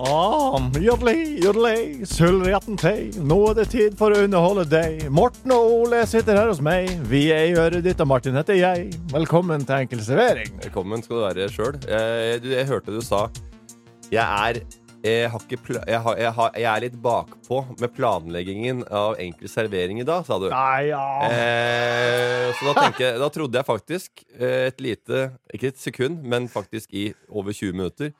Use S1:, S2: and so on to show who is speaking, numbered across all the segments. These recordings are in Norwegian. S1: Ah, jodlei, jodlei, sølvretten tei. Nå er det tid for å underholde deg. Morten og Ole sitter her hos meg. Vi er i øret ditt, og Martin heter jeg. Velkommen til Enkel servering.
S2: Velkommen skal du være sjøl. Jeg, du- jeg hørte du sa Jeg er jeg, har ikke pla jeg, har, jeg, har, jeg er litt bakpå med planleggingen av enkel servering i dag, sa du.
S1: Nei, ja.
S2: Eh, så da, tenker, jeg- da trodde jeg faktisk eh, et lite Ikke et sekund, men faktisk i over 20 minutter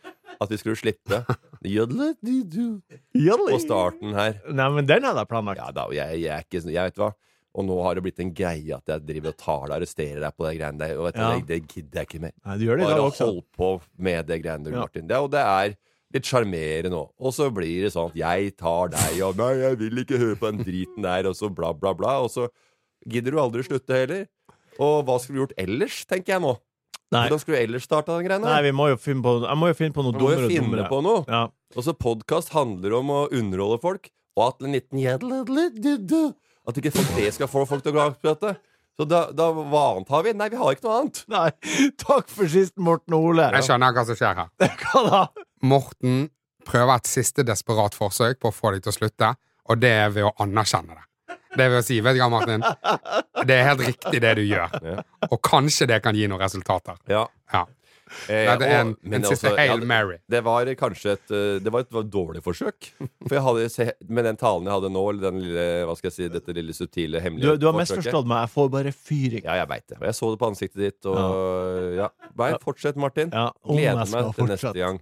S2: at vi skulle slippe jodle-du-du
S1: Jodlei.
S2: på starten her.
S1: Nei, men den hadde jeg planlagt.
S2: Ja da, og jeg, jeg er ikke sånn- Jeg vet hva. Og nå har det blitt en greie at jeg driver og tar deg og arresterer deg på de greiene der. Og vet du,
S1: Ja.
S2: det, det gidder jeg ikke mer.
S1: Nei, du gjør det i
S2: Bare
S1: dag også.
S2: hold på med det greiene du,
S1: Ja.
S2: Martin. Det, er- og det er litt sjarmerende òg. Og så blir det sånn at jeg tar deg og Nei, jeg vil ikke høre på den driten der, og så bla, bla, bla. Og så gidder du aldri slutte heller. Og hva skulle du gjort ellers, tenker jeg nå.
S1: Nei.
S2: Hvordan skulle du ellers starta den greia?
S1: Nei, vi må jo finne på, jeg må jo finne på noe
S2: Du må
S1: dummere
S2: jo
S1: og
S2: finne
S1: dummere.
S2: på noe.
S1: Ja.
S2: Og så podkast handler om å underholde folk, og at en liten jædledledleddu- At ikke folk- det skal få folk til å gå på dette. Så da, da, hva annet har vi? Nei, vi har ikke noe annet.
S1: Nei, takk for sist, Morten og Ole.
S3: Jeg skjønner hva som skjer her.
S1: Hva da?
S3: Morten prøver et siste desperat forsøk på å få deg til å slutte, og det er ved å anerkjenne det. Det er ved å si, vet du hva, Martin, det er helt riktig det du gjør, og kanskje det kan gi noen resultater.
S2: Ja.
S3: Ja.
S2: Eh,
S3: Nei, det er en-
S2: og- men altså,
S3: en siste
S2: ja,
S3: Hail
S2: det-
S3: Mary.
S2: Det var kanskje et eh, Det var et, var et dårlig forsøk. For jeg hadde se, med den talen jeg hadde nå, eller den lille, hva skal jeg si, dette lille subtile,
S1: Du,
S2: hemmelige
S1: du har
S2: forsøket-
S1: misforstått meg. Jeg får bare fyring.
S2: Ja, jeg veit det. Og jeg så det på ansiktet ditt, og ja. Nei, fortsett, Martin.
S1: Ja, om jeg
S2: Gleder meg
S1: skal
S2: til
S1: fortsette.
S2: neste gang.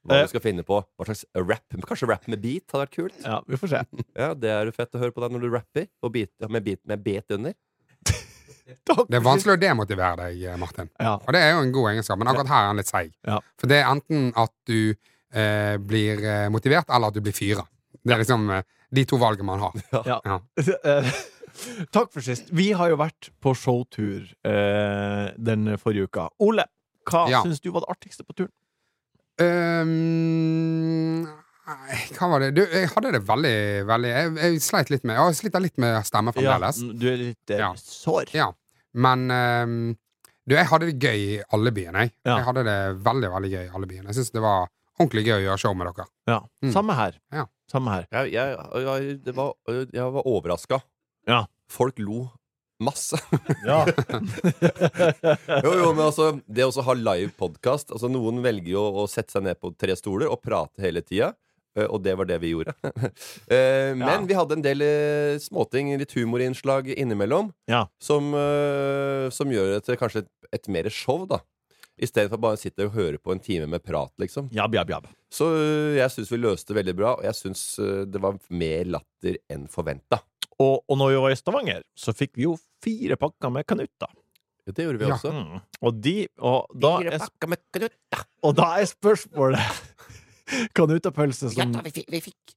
S2: Hva
S1: Eh.
S2: du skal finne på. Hva slags rap? Kanskje rap med beat hadde vært kult?
S1: Ja, vi får se.
S2: Ja, Det er jo fett å høre på deg når du rapper, og beat, ja, med, beat, med bet under.
S1: Takk
S3: Det er
S1: for sist.
S3: vanskelig å demotivere deg, eh, Martin.
S1: Ja.
S3: Og det er jo en god egenskap, men akkurat her er han litt seig.
S1: Ja.
S3: For det er enten at du eh, blir eh, motivert, eller at du blir fyra. Det er liksom eh, de to valgene man har.
S1: Ja.
S3: Ja.
S1: Eh, Takk for sist. Vi har jo vært på showtur eh, den forrige uka. Ole, hva
S3: Ja.
S1: syns du var det artigste på turen?
S3: Øhm, Ehm, nei, hva var det? Du, jeg hadde det veldig, veldig Jeg, jeg sleit litt med Jeg sliter litt med stemme fremdeles.
S1: mm, du er litt eh,
S3: Ja.
S1: sår.
S3: Ja. Men øhm, du, jeg hadde det gøy i alle byene, jeg.
S1: Ja.
S3: Jeg hadde det veldig, veldig gøy i alle byene. Jeg syns det var ordentlig gøy å gjøre show med dere.
S1: Ja.
S3: Mm.
S1: Samme her.
S3: Ja.
S1: Samme her.
S2: Jeg, jeg, jeg, det var, jeg var overraska.
S1: Ja.
S2: Folk lo masse.
S1: Ja.
S2: Jo, jo, men altså, det å også ha live podkast altså, Noen velger jo å sette seg ned på tre stoler og prate hele tida. eh, Og det var det vi gjorde. Eh, Men
S1: Ja.
S2: vi hadde en del eh, småting, litt humorinnslag innimellom,
S1: Ja.
S2: som, eh, som gjør det til kanskje et, et mer show, da. Istedenfor bare å sitte og høre på en time med prat, liksom.
S1: Jabb, jabb, jabb.
S2: Så eh, jeg syns vi løste det veldig bra, og jeg syns eh, det var mer latter enn forventa.
S1: Og, og når vi var i Stavanger, så fikk vi jo fire pakker med kanutter.
S2: Det gjorde vi
S3: Ja.
S2: også.
S1: Mm. Og, de, og, da
S2: Fire
S1: er,
S2: pakker med knutt.
S1: og da er spørsmålet Kanutapølse som
S2: Ja, vi fikk, vi fikk.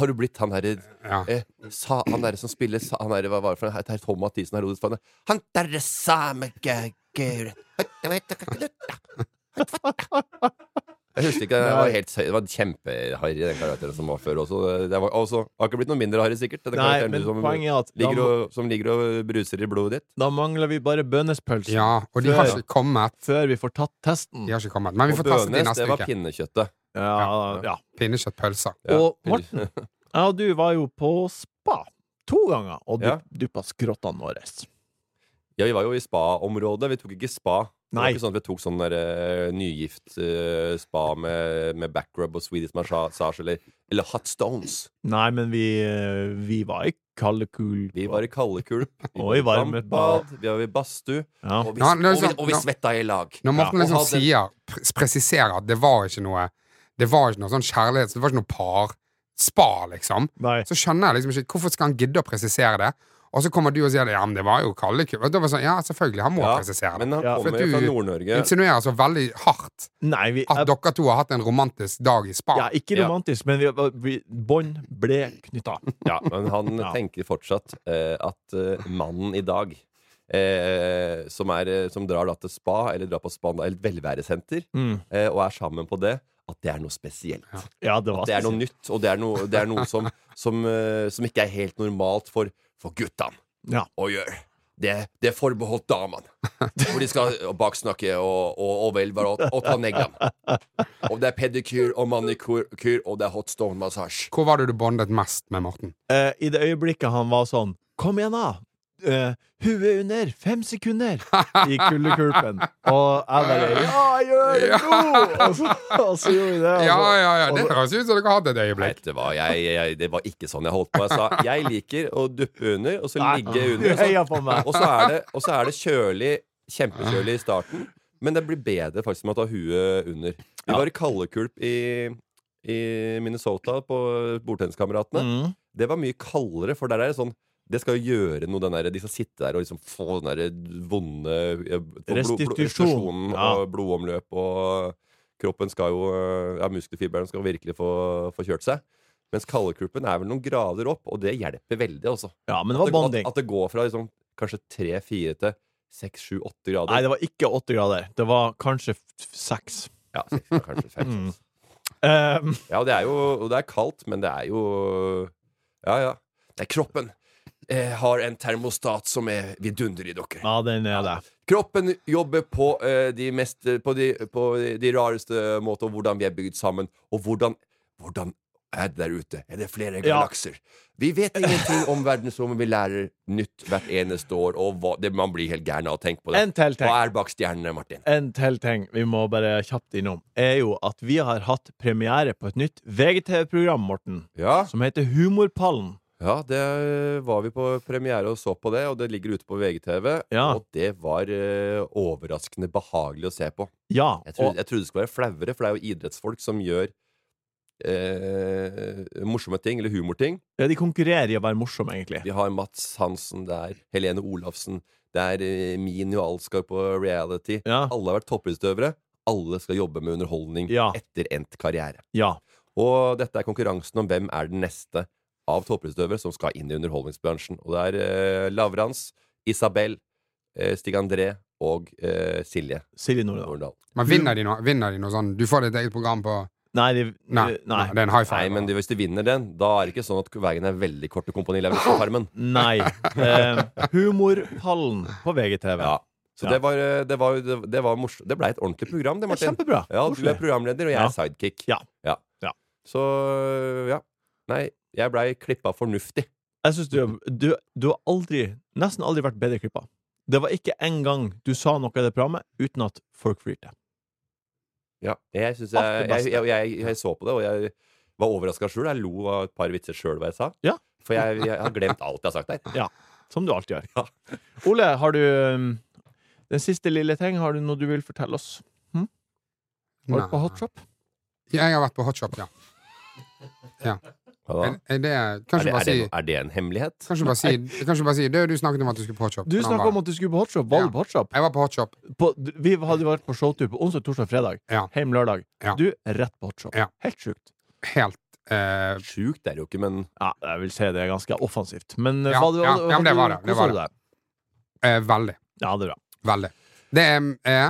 S2: Har du blitt han derre
S3: Ja.
S2: eh, sa- Han derre som spiller sa- Han derre hva var det for noe? Det er Tom Mathisen har rodet for han. Han derre same gøgure Jeg husker ikke, det var, helt, sø- det var kjempeharry, den karakteren som var før også. Det var, også har ikke blitt noe mindre harry, sikkert. Den
S1: Nei,
S2: karakteren
S1: men
S2: du som
S1: poenget er at da,
S2: ligger, og, som ligger og bruser i blodet ditt.
S1: da mangler vi bare bønnespølse
S3: ja, og de har
S1: Før.
S3: ikke kommet.
S1: før vi får tatt testen.
S3: De har ikke kommet. Men vi
S2: Og
S3: får testet
S2: Bønes,
S3: de
S2: det
S3: neste
S2: var
S3: uke.
S2: pinnekjøttet.
S1: Ja, ja.
S3: Pinnekjøttpølser.
S2: Ja.
S1: Og Morten, jeg og du var jo på spa to ganger og du,
S2: Ja.
S1: duppa skrottene våre.
S2: Ja, vi var jo i spa-området. Vi tok ikke spa. Det
S1: Nei.
S2: var ikke sånn at vi tok sånn der, eh, nygift eh, spa med, med backrub og Swedish massage eller, eller hot stones.
S1: Nei, men vi, eh, vi var i kalde kul.
S2: Vi var i kaldekulp. vi
S1: Og
S2: var
S1: i varmet
S2: dampbad, Vi var i badstue.
S1: Ja.
S2: Og, vi-
S3: Nå,
S2: og,
S3: det er
S2: vi-
S3: sånn-
S2: og vi
S3: nå-
S2: svetta i lag.
S3: Når Morten
S2: Ja,
S3: liksom
S2: og hadde-
S3: sier, pres- presiserer at det var ikke noe Det var ikke noe sånn kjærlighets... Det var ikke noe par spa, liksom.
S1: Nei.
S3: Så skjønner jeg liksom ikke Hvorfor skal han gidde å presisere det? Og så kommer du og sier det, ja, men det var jo kalde kuber. Og da var det sånn, ja, selvfølgelig, han må
S2: Ja,
S3: presisere det.
S2: men han
S1: Ja.
S2: kommer
S3: For du-
S2: fra Nord-Norge.
S3: Insinuerer så veldig hardt
S1: Nei, vi
S3: at
S1: jeg,
S3: dere to har hatt en romantisk dag i spa.
S1: ja, Ikke
S2: Ah, Ja.
S1: romantisk, men vi, vi, bånd ble knytta.
S2: Ja, men han
S1: Ja.
S2: tenker fortsatt eh, at eh, mannen i dag eh, som, er, eh, som drar da til spa, eller drar på spa, eller et velværesenter,
S1: Mm.
S2: eh, og er sammen på det, at det er noe spesielt.
S1: Ja, det var
S2: Det er noe nytt, og det er noe, det er noe som, som, eh, som ikke er helt normalt for, for guttene
S1: Ja.
S2: å gjøre. Det, det er forbeholdt damene. Hvor de skal baksnakke og, og, og velvære og, og ta neglene. Og det er pedikyr og manikyr, og det er hot stone-massasje.
S3: Hvor var det du bondet mest med Morten?
S1: Eh, I det øyeblikket han var sånn Kom igjen, da! Eh, huet under! Fem sekunder! I kuldekulpen. Og jeg bare Ja, gjør det! Jo! Og så, og så gjorde vi det. og
S3: Ja,
S1: så-
S2: altså-
S3: ja, ja, det
S1: og så-
S3: høres ut som dere har hatt et øyeblikk.
S2: Vet du hva, jeg, jeg, det var ikke sånn jeg holdt på. Jeg sa jeg liker å duppe under, og så
S1: Nei,
S2: ligge under.
S1: Du
S2: Og så,
S1: heier på meg.
S2: og så, er, det, og så er det kjølig, kjempekjølig i starten, men det blir bedre faktisk med å ta huet under. Vi var i kaldekulp i, i Minnesota på bordtenniskameratene.
S1: Mm.
S2: Det var mye kaldere, for der er det sånn det skal jo gjøre noe, den der, de skal sitte der og liksom få den der vonde eh, blod- blod-
S1: Restitusjon.
S2: restitusjonen
S1: Ja.
S2: og blodomløp og Kroppen skal jo eh, Ja, muskelfiberen skal virkelig få, få kjørt seg. Mens kaldekulpen er vel noen grader opp, og det hjelper veldig, altså.
S1: Ja, men det
S2: At
S1: var
S2: det, at,
S1: bonding.
S2: at det går fra liksom kanskje 3-4 til 6-7-8 grader.
S1: Nei, det var ikke åtte grader. Det var kanskje f- seks.
S2: Ja, seks, kanskje fem.
S1: Mm.
S2: seks.
S1: Um,
S2: Ja, og det er jo og det er kaldt, men det er jo Ja, ja. Det er kroppen. Eh, har en termostat som er vidunderlig, dere.
S1: ja, den er det.
S2: Kroppen jobber på, eh, de, mest, på, de, på de rareste måter, og hvordan vi er bygd sammen, og hvordan, hvordan er det der ute? Er det flere galakser? Vi vet ingenting om verdensrommet. Vi lærer nytt hvert eneste år, og hva, det, man blir helt gæren av å tenke på det.
S1: En til ting.
S2: Hva er bak stjernene, Martin?
S1: En til ting vi må bare kjapt innom, er jo at vi har hatt premiere på et nytt VGTV-program, Morten,
S2: Ja,
S1: som heter Humorpallen.
S2: ja, det eh, var vi på premiere og så på det, og det ligger ute på VGTV.
S1: Ja.
S2: Og det var eh, overraskende behagelig å se på.
S1: Ja.
S2: Jeg
S1: og-
S2: trodde, jeg trodde det skulle være flauere, for det er jo idrettsfolk som gjør eh, morsomme ting, eller humorting.
S1: Ja, de konkurrerer i å være morsomme, egentlig.
S2: Vi har Mats Hansen, det er Helene Olafsen, det er eh, Mini og Alskar på reality.
S1: Ja.
S2: Alle har vært toppidrettsutøvere. Alle skal jobbe med underholdning
S1: Ja.
S2: etter endt karriere.
S1: ja.
S2: Og dette er konkurransen om hvem er den neste av toppidrettsutøvere som skal inn i underholdningsbransjen. Og det er eh, Lavrans, Isabel, eh, Stig André og eh, Silje
S1: Silje Nordal.
S2: Nordahl.
S3: Men vinner de, noe, vinner de noe sånn Du får ditt eget program på
S1: Nei, de,
S3: Nei,
S1: de-
S3: nei.
S1: nei.
S3: det er en high
S2: Nei,
S3: five.
S2: men de, hvis de vinner den, da er det ikke sånn at veien er veldig kort til Kompani Lauritzen-farmen.
S1: nei. Eh, humorpallen på VGTV.
S2: Ja. Så
S1: Ja.
S2: det var, eh, det var, det, det var morsomt. Det blei et ordentlig program,
S1: Det
S2: det,
S1: er
S2: Martin.
S1: kjempebra.
S2: Ja, du
S1: Koselig.
S2: er programleder, og jeg
S1: Ja.
S2: er sidekick.
S1: Ja. Ja.
S2: Så ja. Nei, jeg blei klippa fornuftig.
S1: Jeg synes du, du, du har aldri, nesten aldri vært bedre klippa. Det var ikke en gang du sa noe i det programmet uten at folk flirte.
S2: Ja. Jeg, synes
S1: Alt
S2: jeg,
S1: det
S2: jeg,
S1: beste.
S2: jeg, jeg, jeg så på det, og jeg var overraska sjøl. Jeg lo av et par vitser sjøl hva jeg sa.
S1: Ja.
S2: For jeg, jeg har glemt alt jeg har sagt der.
S1: Som du alltid gjør.
S2: Ja.
S1: Ole, har du um, den siste lille ting? Har du noe du vil fortelle oss? Har du vært på hotshop?
S3: Ja, jeg har vært på hotshop, ja.
S2: Hva da?
S3: Er, er det,
S2: Er
S3: kanskje
S2: det,
S3: bare
S2: er, det,
S3: si
S2: no- er det en hemmelighet?
S3: Kanskje bare si, kanskje bare si det, Du snakket om at du skulle på hotshop.
S1: Du snakka om at du skulle på hotshop. Var du
S3: Ja.
S1: på hotshop?
S3: Jeg var på hotshop.
S1: På, d- vi hadde vært på showtur på onsdag, torsdag, fredag.
S3: Ja.
S1: Heim lørdag.
S3: Ja.
S1: Du rett på hotshop.
S3: Ja.
S1: Helt sjukt.
S3: Helt eh,
S2: Sjukt er det jo ikke, men
S1: Ja, jeg vil si det er ganske offensivt. Men eh,
S3: Ja, ja, ja, men det var det, det var
S1: det.
S3: eh, Veldig.
S1: Ja, det er bra.
S3: Veldig. Det er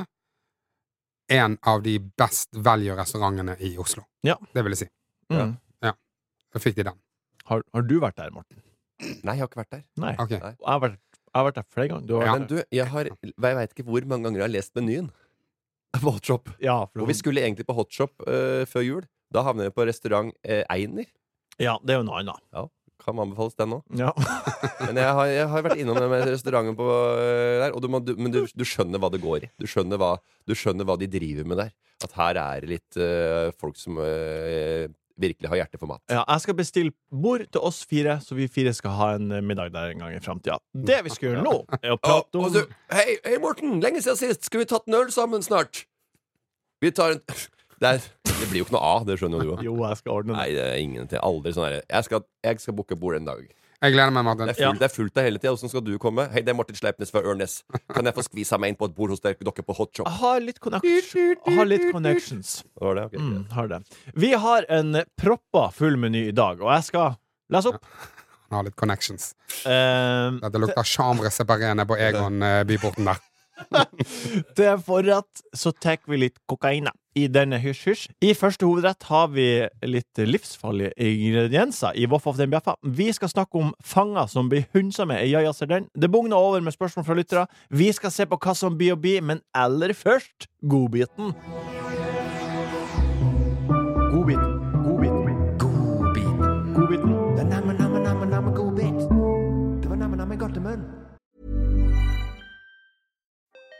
S3: en av de best value-restaurantene i Oslo.
S1: Ja.
S3: Det vil jeg si.
S1: Mm.
S3: Da fikk de den.
S1: Har, har du vært der, Morten?
S2: Nei, jeg har ikke vært der.
S1: Nei.
S3: Ok.
S2: Nei.
S1: Jeg har vært, jeg har vært der flere ganger. Du har
S3: Ja.
S2: Men du, jeg har Jeg veit ikke hvor mange ganger jeg har lest menyen. På Hotshop.
S1: Ja, for
S2: Og vi skulle egentlig på hotshop eh, før jul. Da havner vi på restaurant eh, Einer.
S1: ja, det er jo noe annet.
S2: Kan anbefales den òg.
S1: Ja.
S2: Men jeg har, jeg har vært innom den med restauranten på eh, der, og du må, du, men du, du skjønner hva det går i. Du skjønner hva, du skjønner hva de driver med der. At her er det litt eh, folk som eh, virkelig har hjerte for mat.
S1: ja, jeg skal bestille bord til oss fire, så vi fire skal ha en eh, middag der en gang i framtida. Det vi skal gjøre nå, er å prate
S2: Og-
S1: om
S2: og du, hei, hei, Morten! Lenge siden sist! Skulle vi tatt en øl sammen snart? Vi tar en Det, er, det blir jo ikke noe av, det skjønner jo du òg.
S1: Jo, jeg skal ordne det.
S2: Nei, det er ingenting. Aldri sånn herre. Jeg skal, jeg skal booke bord en dag.
S3: Jeg gleder meg, Martin.
S2: Det er fullt, det er fullt der hele tida. Åssen skal du komme? Hei, det er Martin Sleipnes fra Ørnes. Kan jeg få skvisa meg inn på et bord hos dere, dere på Hot Shop?
S1: Jeg har litt, connection. Jeg har litt connections.
S2: Det var det? ok.
S1: Mm, har det. Vi har en proppa full meny i dag, og jeg skal lese opp.
S3: Han har litt connections.
S1: Eh,
S3: Dette lukter Chambre Separene på Egon eh, Byporten der.
S1: det er for at så tar vi litt kokaina i denne hysj-hysj. I første hovedrett har vi litt livsfarlige ingredienser i Voff of den bjeffa. Vi skal snakke om fanger som blir hunsa med i Ja, ja, ser den. Det bugner over med spørsmål fra lyttere. Vi skal se på hva som blir å bli, men aller først godbiten. Godbiten. Godbiten.
S4: Godbit.
S1: Godbiten.
S4: Det er namme, namme, namme, namme godbit. Det var namme, namme godtemunn.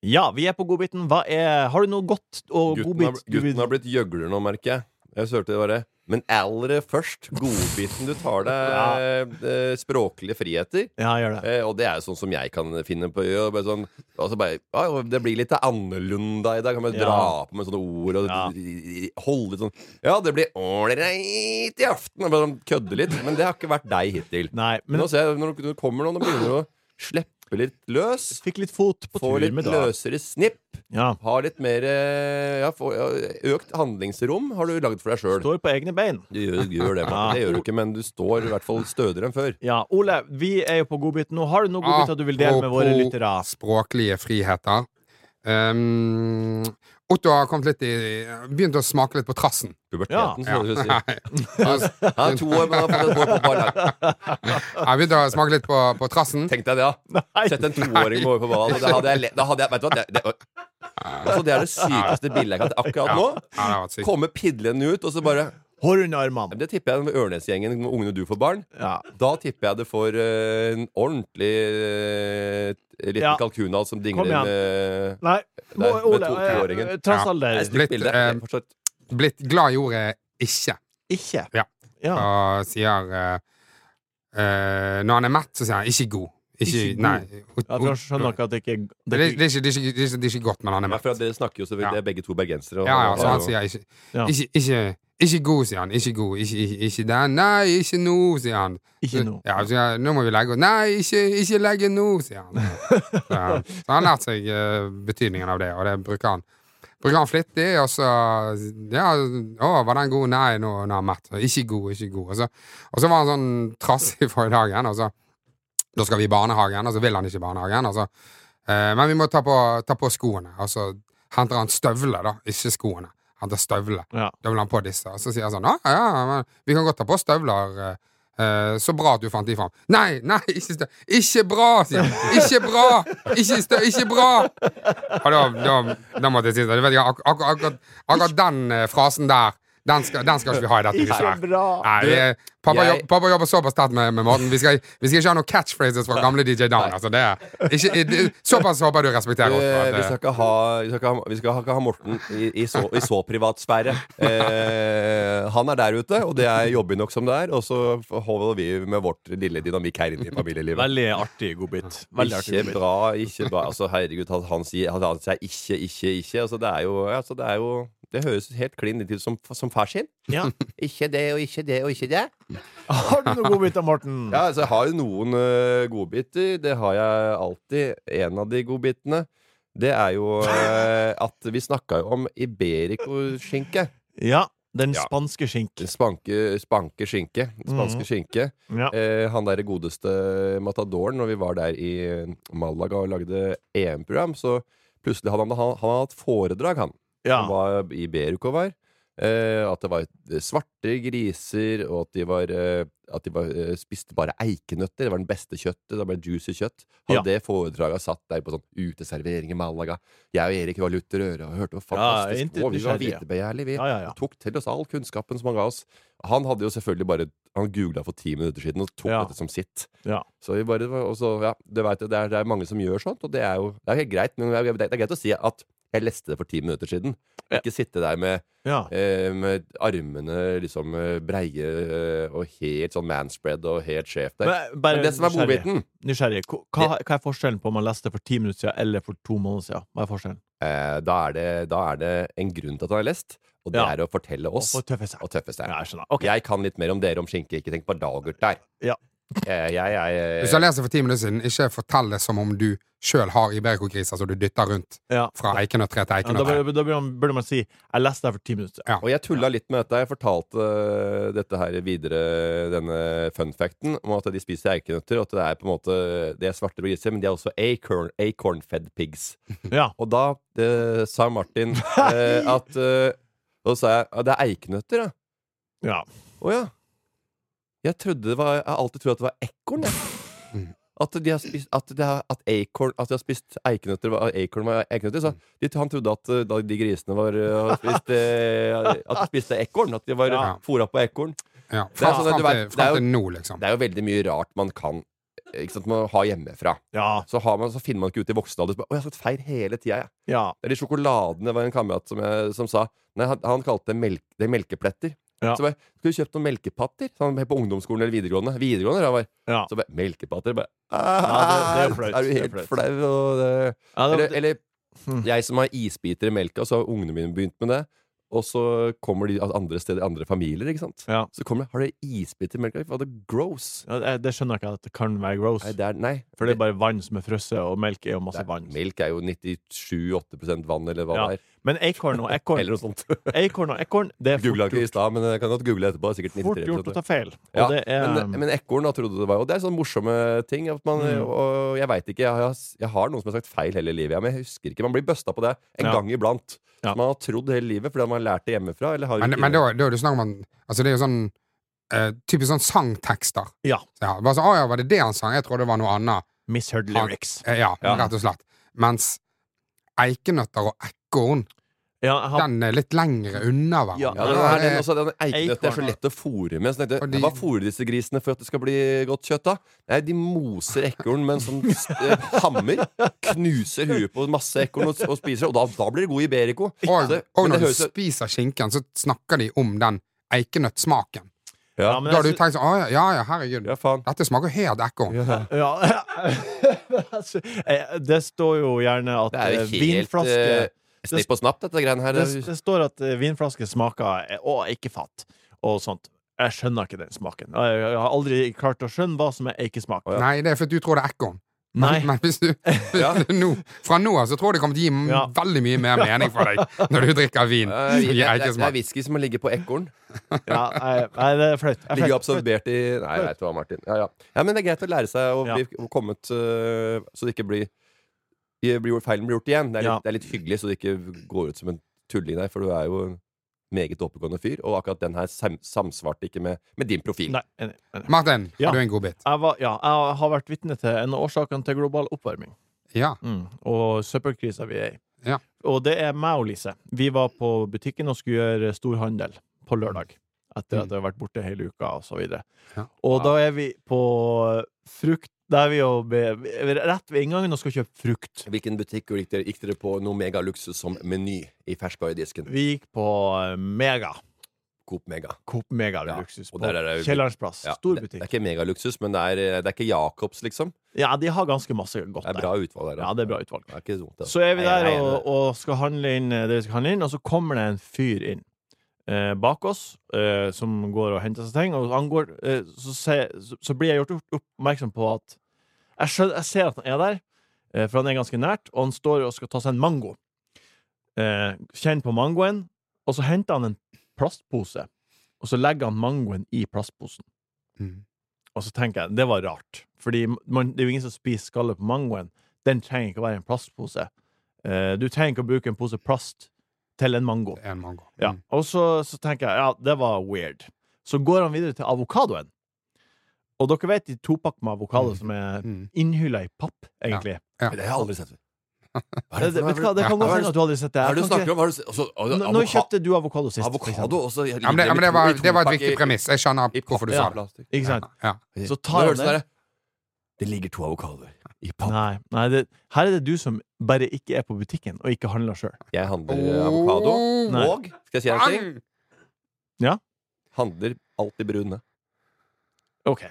S1: Ja, vi er på godbiten. Hva er Har du noe godt og
S2: Gutten har,
S1: godbit? du vil-
S2: gutten har blitt gjøgler nå, merker jeg. Jeg hørte det bare Men aller først, godbiten. Du tar deg eh, språklige friheter.
S1: Ja, gjør det.
S2: Eh, og det er jo sånn som jeg kan finne på å gjøre. Bare sånn, altså bare, ja, jo, det blir litt annerledes i dag. Kan man
S1: Ja.
S2: dra på med sånne ord og
S1: Ja.
S2: holde litt sånn Ja, det blir ålreit i aften. Og bare sånn, kødde litt. Men det har ikke vært deg hittil.
S1: Nei,
S2: Men
S1: men
S2: nå ser jeg, når du kommer noen og begynner å slippe litt løs,
S1: fikk litt fot på
S2: få
S1: tur
S2: Eh, litt
S1: med det.
S2: løsere snipp,
S1: Ja.
S2: ha litt mer eh, ja, få, ja, Økt handlingsrom har du lagd for deg sjøl.
S1: Står på egne bein.
S2: Du gjør, du gjør det, Martin. Det gjør du ikke, men du står i hvert fall stødigere enn før.
S1: Ja, Ole, vi er jo på godbiten nå. Har du
S3: Ah,
S1: noe godbiter du vil dele med våre
S3: Apropos
S1: lyttere?
S3: Språklige friheter. Um, Otto har kommet litt i Begynt å smake litt på trassen. Altså,
S2: Puberteten,
S3: Ja.
S2: som du sier.
S3: Nei. Han
S2: Han er to år, men han har fått et hår på et par dager.
S3: har begynt å smake litt på, på trassen.
S2: Tenk deg det, da. Sett en toåring gå over på banen. Da hadde jeg, le- da hadde jeg Vet du hva? Det, det, altså, det er det sykeste bildet jeg kan ta akkurat nå.
S3: Ja, det har vært sykt.
S2: Kommer pidlende ut, og så bare
S1: Hår under armene.
S2: Det tipper jeg med Ørnesgjengen, med ungene du får barn.
S1: Ja.
S2: Da tipper jeg det får eh, en ordentlig eh, liten
S1: Ja.
S2: kalkunhals som
S1: Kom igjen.
S2: dingler med
S1: Nei, må,
S2: med
S1: Ole,
S2: to- toåringen.
S1: eh, trass alder.
S2: Nei, stygt
S3: Litt,
S2: bilde.
S3: eh,
S2: Det er fortsatt-
S3: Blitt glad i ordet 'ikke'.
S1: Ikke.
S3: Ja.
S1: Ja.
S3: og sier eh, eh, Når han er mett, så sier han 'ikke god'. Ikke,
S1: Ikke god.
S3: nei,
S1: Ja, for han skjønner ikke at det ikke
S3: det,
S1: det
S3: er,
S1: ikke-
S3: det, er ikke, det, er ikke, det, er ikke, det er ikke godt, men han er
S2: Ja,
S3: mett.
S2: for dere snakker jo selvfølgelig
S3: Ja.
S2: Det er begge to bergensere. og-
S3: Ja, ja, så han
S2: og-
S3: sier ikke,
S1: Ja.
S3: ikke, ikke ikke god, sier han. Ikke god. Ikke, ikke, ikke den. Nei, ikke nå, sier han.
S1: Ikke nå.
S3: Ja, så sier han, nå må vi legge oss. Nei, ikke, ikke legge nå, sier han. Så, så han har lært seg eh, betydningen av det, og det bruker han. Bruker han flittig, og så Ja, å, var den god? Nei, nå, nå er han mett. Så Ikke god, ikke god. Og så, og så var han sånn trassig forrige dagen, og så Da skal vi i barnehagen, og så vil han ikke i barnehagen. Og så, eh, men vi må ta på, ta på skoene, og så henter han støvler, da. Ikke skoene. Henter støvler.
S1: Ja.
S3: Da vil han på disse. Og så sier han sånn Ja, ja, men vi kan godt ta på støvler. eh, eh, så bra at du fant de fram. Nei, nei, ikke støv. Ikke bra, sier han. Ikke bra! Ikke støv, ikke bra! Og da, da, da måtte jeg si det. Du vet ikke, ak ak akkurat, akkurat den eh, frasen der, den skal, den skal ikke vi ha i dette huset her.
S1: Ikke bra.
S3: Nei, vi, er- pappa,
S2: jeg-
S3: jobb, pappa jobber såpass tett med, med Morten. Vi skal, vi skal ikke ha noen catchphrases fra gamle DJ Dan. Altså, det, er- ikke, det, såpass håper jeg du respekterer oss. for
S2: Eh,
S3: at,
S2: vi skal ikke ha, vi skal ikke ha, vi skal ikke ha Morten i, i, så, i så privat sfære. Eh, han er der ute, og det er jobbig nok som det er. Og så holder vi med vårt lille dynamikk her inne i familielivet.
S1: Veldig artig godbit. Veldig artig godbit.
S2: Ikke bra, ikke bra. Altså, herregud, at han sier at han sier ikke, ikke, ikke. Altså, det er jo, altså, det, er jo det høres helt klin litt ut som, som far sin.
S1: Ja.
S2: Ikke det og ikke det og ikke det.
S1: Har du noe godbiter, Morten?
S2: Ja, eh, altså, jeg har jo noen ø, godbiter. Det har jeg alltid. En av de godbitene. det er jo eh, at vi snakka jo om iberico-skinke.
S1: Ja, den
S2: Ja.
S1: spanske skinken.
S2: Spanke, spanke skinke. Spanske skinke.
S1: Ja.
S2: Eh, han derre godeste Matadoren, når vi var der i Malaga og lagde EM-program, så plutselig hadde han, han, han hadde hatt foredrag, han.
S1: Ja.
S2: Han var i Beruko var. Eh, at det var et- svarte griser, og at de, var, eh, at de var, eh, spiste bare eikenøtter. Det var den beste kjøttet. Det var juicy kjøtt. Hadde
S1: Ja.
S2: det foredraget satt der på sånn uteservering i Malaga. Jeg og Erik var lutter øre og hørte jo
S1: Ja,
S2: fantastisk
S1: intet
S2: på. Vi var
S1: nysgjerrig, ja.
S2: vitebegjærlige, vi
S1: Ja, ja, ja.
S2: tok til oss all kunnskapen som han ga oss. Han hadde jo selvfølgelig bare Han googla for ti minutter siden og tok
S1: Ja.
S2: dette som sitt.
S1: Ja.
S2: Så vi bare og så, ja, du vet, det, er, det er mange som gjør sånt, og det er jo det er helt greit. Men det er, det er greit å si at jeg leste det for ti minutter siden. Ikke sitte der med,
S1: Ja.
S2: eh, med armene liksom eh, breie eh, og helt sånn manspread og helt sjef der.
S1: Men, bare
S2: Men det som er
S1: nysgjerrig.
S2: godbiten
S1: nysgjerrig. Hva, hva- hva er forskjellen på om man leste for ti minutter siden eller for to måneder siden? Hva er forskjellen?
S2: eh, da, er det, da er det en grunn til at han har lest, og det
S1: Ja.
S2: er å fortelle oss
S1: Å få tøffe seg.
S2: og tøffe seg.
S1: Ja, jeg skjønner. Ok.
S2: Jeg kan litt mer om dere om skinke. Ikke tenk på dagert der.
S1: Ja.
S2: Eh, Jeg, jeg,
S3: Hvis du har lest det for ti minutter siden, ikke fortell det som om du sjøl har iberikokriser som du dytter rundt
S1: Ja.
S3: fra eikenøttre til
S1: Ja, da
S3: eikenøttre.
S1: burde, da burde, man, burde man si 'Jeg leste det her for ti minutter siden'.
S3: Ja.
S2: Og jeg tulla litt med dette. Jeg fortalte øh, dette her videre, denne fun facten, om at de spiser eikenøtter, og at det er på en måte De er svarte på griser, men de er også acorn, acorn-fed pigs.
S1: Ja.
S2: Og da eh, sa Martin eh, at eh, Og så sa jeg at det er eikenøtter, ja.
S1: Ja.
S2: Å ja. Jeg trodde det var Jeg har alltid trodd at det var ekorn, jeg. At de har spist At, det er, at, acorn, at de har spist eikenøtter var- Acorn var
S1: Mm.
S2: eikenøtter. Så de, han trodde at eh, da de grisene var eh, har spist eh, At de spiste ekorn. At de var
S1: Ja.
S2: fôra på ekorn.
S3: Ja.
S2: Det er
S3: Fram,
S2: sånn at
S3: fram,
S2: du
S3: til,
S2: vet- det er
S3: fram
S2: jo-
S3: til nå, liksom.
S2: Det er jo veldig mye rart man kan Ikke sant, man har hjemmefra.
S1: Ja.
S2: Så, har man, så finner man ikke ut i voksen alder. Så bare, Å, jeg har sagt feil hele tida, jeg.
S1: Ja.
S2: Eller sjokoladene var en kamerat som, jeg, som sa Nei, han, han kalte det, melk, det er melkepletter.
S1: Ja.
S2: Så bare, skulle du kjøpt noen melkepatter? Sånn på ungdomsskolen eller videregående. Videregående, da, var
S1: Ja.
S2: Så bare, melkepatter bare, "Ah,
S1: Ja, det- det er flaut.
S2: Er du
S1: Det er
S2: helt
S1: flaut.
S2: flau? Og det...
S1: Ja, det-
S2: Eller, eller
S1: Hmm.
S2: jeg som har isbiter i melka, så har ungene mine begynt med det. Og så kommer de av andre steder, andre familier, ikke sant.
S1: Ja.
S2: Så kommer de, har dere isbiter i melka? Hva er det gross?
S1: Ja, det- det skjønner jeg ikke at det kan være gross.
S2: Nei, det er, nei.
S1: For det er bare vann som er frosset, og melk er jo masse
S2: det er,
S1: vann.
S2: melk er jo 97-8 vann, eller hva
S1: Ja.
S2: det er.
S1: Men acorn og ekorn,
S2: Eller noe sånt.
S1: acorn og ekorn det er
S2: Googla
S1: fort
S2: ikke i
S1: gjort,
S2: stad, men jeg kan godt google etterpå. Det er Sikkert
S1: fort gjort å
S2: 93
S1: ta feil. Og
S2: ja,
S1: det er
S2: men, men ekorn da trodde du det var. Og det er sånne morsomme ting. At man,
S1: Mm.
S2: og jeg vet ikke, jeg, har- jeg har noen som har sagt feil hele livet, ja, men jeg husker ikke. Man blir busta på det en
S1: Ja.
S2: gang iblant.
S1: Ja.
S2: Som Man har trodd hele livet fordi man har lært det hjemmefra. Eller har
S3: Men,
S2: ikke-
S3: men da, da er det snakk om at- altså, Det er jo sånn eh, typisk sånn sangtekster.
S1: Ja.
S3: Så ja, bare så, å, ja, var det det han sang? Jeg trodde det var noe annet.
S1: misheard
S3: Han-
S1: lyrics.
S3: Eh, ja,
S2: Ja.
S3: rett og slett. Mens eikenøtter og ekorn,
S1: Ja, han,
S3: den er litt lengre unna
S1: Ja,
S2: ja, altså,
S3: hverandre.
S2: den,
S3: Ja,
S2: her, den,
S3: det-
S2: også, den eikenøtt sånn- er så
S1: Ekorn,
S2: lett å fôre med. Så tenkte, jeg,
S3: Og de-
S2: Hva fôrer disse grisene for at det skal bli godt kjøtt, da? Nei, De moser ekorn med en sånn eh, hammer. Knuser huet på masse ekorn og, og spiser det. Og da, da blir det god iberico.
S3: og,
S2: Det-
S3: og
S2: men det
S3: når du
S2: høres jo-
S3: spiser skinken, så snakker de om den eikenøttsmaken.
S2: ja,
S1: ja, men
S3: Da har du
S1: jeg, sy-
S3: tenkt sånn Å ja, ja, ja, herregud.
S2: ja, faen.
S3: Dette smaker helt ekorn.
S1: ja. Altså, eh, Det står jo gjerne at
S2: Det er
S1: eh,
S2: jo helt
S1: vinflaske
S2: eh, snipp og snapp, dette greiene her.
S1: det, det står at eh, vinflaske smaker eh, Å, ikke fatt og sånt. Jeg skjønner ikke den smaken. Jeg jeg har aldri klart å skjønne hva som er eikesmak.
S2: Å, ja.
S3: Nei, det er fordi du tror det er ekorn. Men,
S1: Nei.
S3: men hvis du
S2: Ja.
S3: nå, Fra nå av så tror jeg det kommer til å gi m-
S1: Ja.
S3: veldig mye mer mening for deg når du drikker vin.
S2: Eh,
S3: som
S2: det, det, det
S3: gir
S2: er
S3: eikesmak.
S2: whisky som ligger på ekorn.
S1: Ja, nei, nei, det er flaut. Det er
S2: Ligger
S1: flaut.
S2: absorbert i Nei, jeg vet hva, Martin. Ja, ja. ja, Men det er greit å lære seg å
S1: Ja.
S2: bli å komme ut øh, så det ikke blir, blir blir- Feilen blir gjort igjen. Det er, litt,
S1: Ja.
S2: det er litt hyggelig, så det ikke går ut som en tulling der, for du er jo en meget oppegående fyr. Og akkurat den her sam samsvarte ikke med, med din profil.
S1: Nei, enig, enig.
S3: Martin,
S1: Ja.
S3: har du en god bit?
S1: Jeg, var, ja, jeg har vært vitne til en av årsakene til global oppvarming
S3: Ja.
S1: mm. og søppelkrisa vi er i.
S3: Ja.
S1: Og det er meg og Lise. Vi var på butikken og skulle gjøre storhandel på lørdag. Etter at
S2: Mm.
S1: jeg har vært borte hele uka og så videre.
S3: Ja.
S1: Og da er vi på frukt Da er vi jo be- rett ved inngangen og skal kjøpe frukt.
S2: Hvilken butikk gikk dere, gikk dere på noe megaluksus som Meny i ferskvaredisken?
S1: Vi gikk på eh, Mega.
S2: Coop Mega.
S1: Coop Mega
S2: Ja,
S1: Luksus.
S2: og
S1: På
S2: der er det-
S1: Kiellerens plass.
S2: Ja,
S1: Stor
S2: det, det
S1: butikk.
S2: er ikke megaluksus, men det er, eh, det er ikke Jacobs, liksom.
S1: Ja, de har ganske masse godt
S2: Det er bra utvalg der. da.
S1: Ja, det er bra utvalg.
S2: Det er ikke dumt, det.
S1: Så er vi
S2: Nei,
S1: der
S2: nei,
S1: og,
S2: det-
S1: og skal handle inn eh, det vi skal handle inn, og så kommer det en fyr inn eh, bak oss eh, som går og henter seg ting, og han går, eh, så, ser- så, så blir jeg gjort opp- oppmerksom på at jeg, skjønner, jeg ser at han er der, eh, for han er ganske nært, og han står og skal ta seg en mango. Eh, Kjenn på mangoen, og så henter han en plastpose, og så legger han mangoen i plastposen.
S3: Mm.
S1: Og så tenker jeg, det var rart, fordi man, det er jo ingen som spiser skallet på mangoen. Den trenger ikke å være en plastpose. Eh, du trenger ikke å bruke en pose plast til en mango.
S3: En mango.
S1: Ja.
S3: Mm.
S1: Og så, så tenker jeg ja, det var weird. Så går han videre til avokadoen. Og dere vet de topakk med avokado som er
S3: Mm.
S1: innhylla i papp, egentlig.
S3: Ja.
S2: Det har jeg aldri sett før. Hva
S1: Det, det, vet du hva, det kan
S3: Ja.
S1: godt hende at du aldri har sett det.
S2: Hva er
S1: Jeg
S2: det du
S1: kan
S2: snakker om? Hva er det, altså,
S1: ikke-
S2: avoka-
S1: N- Når kjøpte du avokado sist? for
S2: Avokado
S1: eksempel?
S2: også. jeg-
S3: Ja, men det,
S2: ligger
S3: ja,
S2: med
S3: men det,
S2: to-
S3: var,
S2: i to
S3: det var et
S2: pakker
S3: viktig
S2: i-
S3: premiss. Jeg skjønner
S2: i
S3: hvorfor du
S2: papp-
S3: sa
S2: ja,
S3: det.
S2: plastikk.
S1: Ikke sant?
S3: Ja.
S1: Så tar
S2: Nå
S1: han
S2: høres det
S1: den.
S2: der, Det ligger to avokadoer i papp.
S1: Nei, nei det, her er det du som bare ikke er på butikken og ikke handler sjøl.
S2: Jeg handler eh, avokado.
S1: Nei.
S2: Og skal jeg si en ting? Handler alltid brune.
S1: Ok.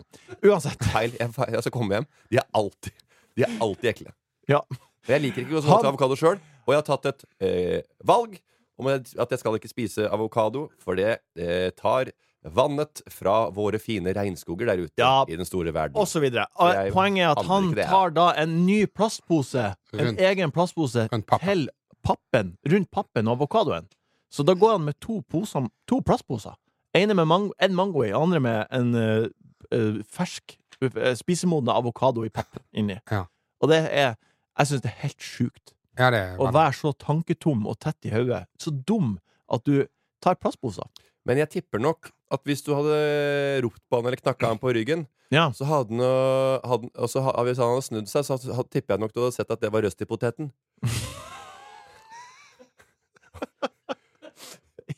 S1: Uansett.
S2: Feil. Jeg, feil. jeg skal komme hjem. De er alltid De er alltid ekle.
S1: Ja.
S2: Men jeg liker ikke å
S1: Han-
S2: smake avokado sjøl, og jeg har tatt et eh, valg om at at jeg skal ikke spise avokado, for det eh, tar vannet fra våre fine regnskoger der ute
S1: Ja.
S2: i den store verden.
S1: Og så videre. Og
S2: Jeg
S1: poenget er at
S2: handler
S1: han
S2: ikke det, ja.
S1: tar da en ny plastpose, en
S3: Rundt-
S1: egen plastpose,
S3: rundt pappen.
S1: til pappen, rundt pappen og avokadoen. Så da går han med to, poser, to plastposer. Ene med mang en mango i, andre med en eh, eh, fersk, uh, spisemoden avokado i papp inni.
S3: Ja.
S1: Og det er Jeg syns det er helt sjukt.
S3: Ja, det er
S1: Å være så tanketom og tett i hodet. Så dum at du tar plastposer.
S2: Men jeg tipper nok at hvis du hadde ropt på han eller knakka han på ryggen,
S1: Ja.
S2: så hadde han, øh, hadde, han- og så ha- hvis han hadde snudd seg, så hadde, hadde- tipper jeg nok du hadde sett at det var røst i poteten.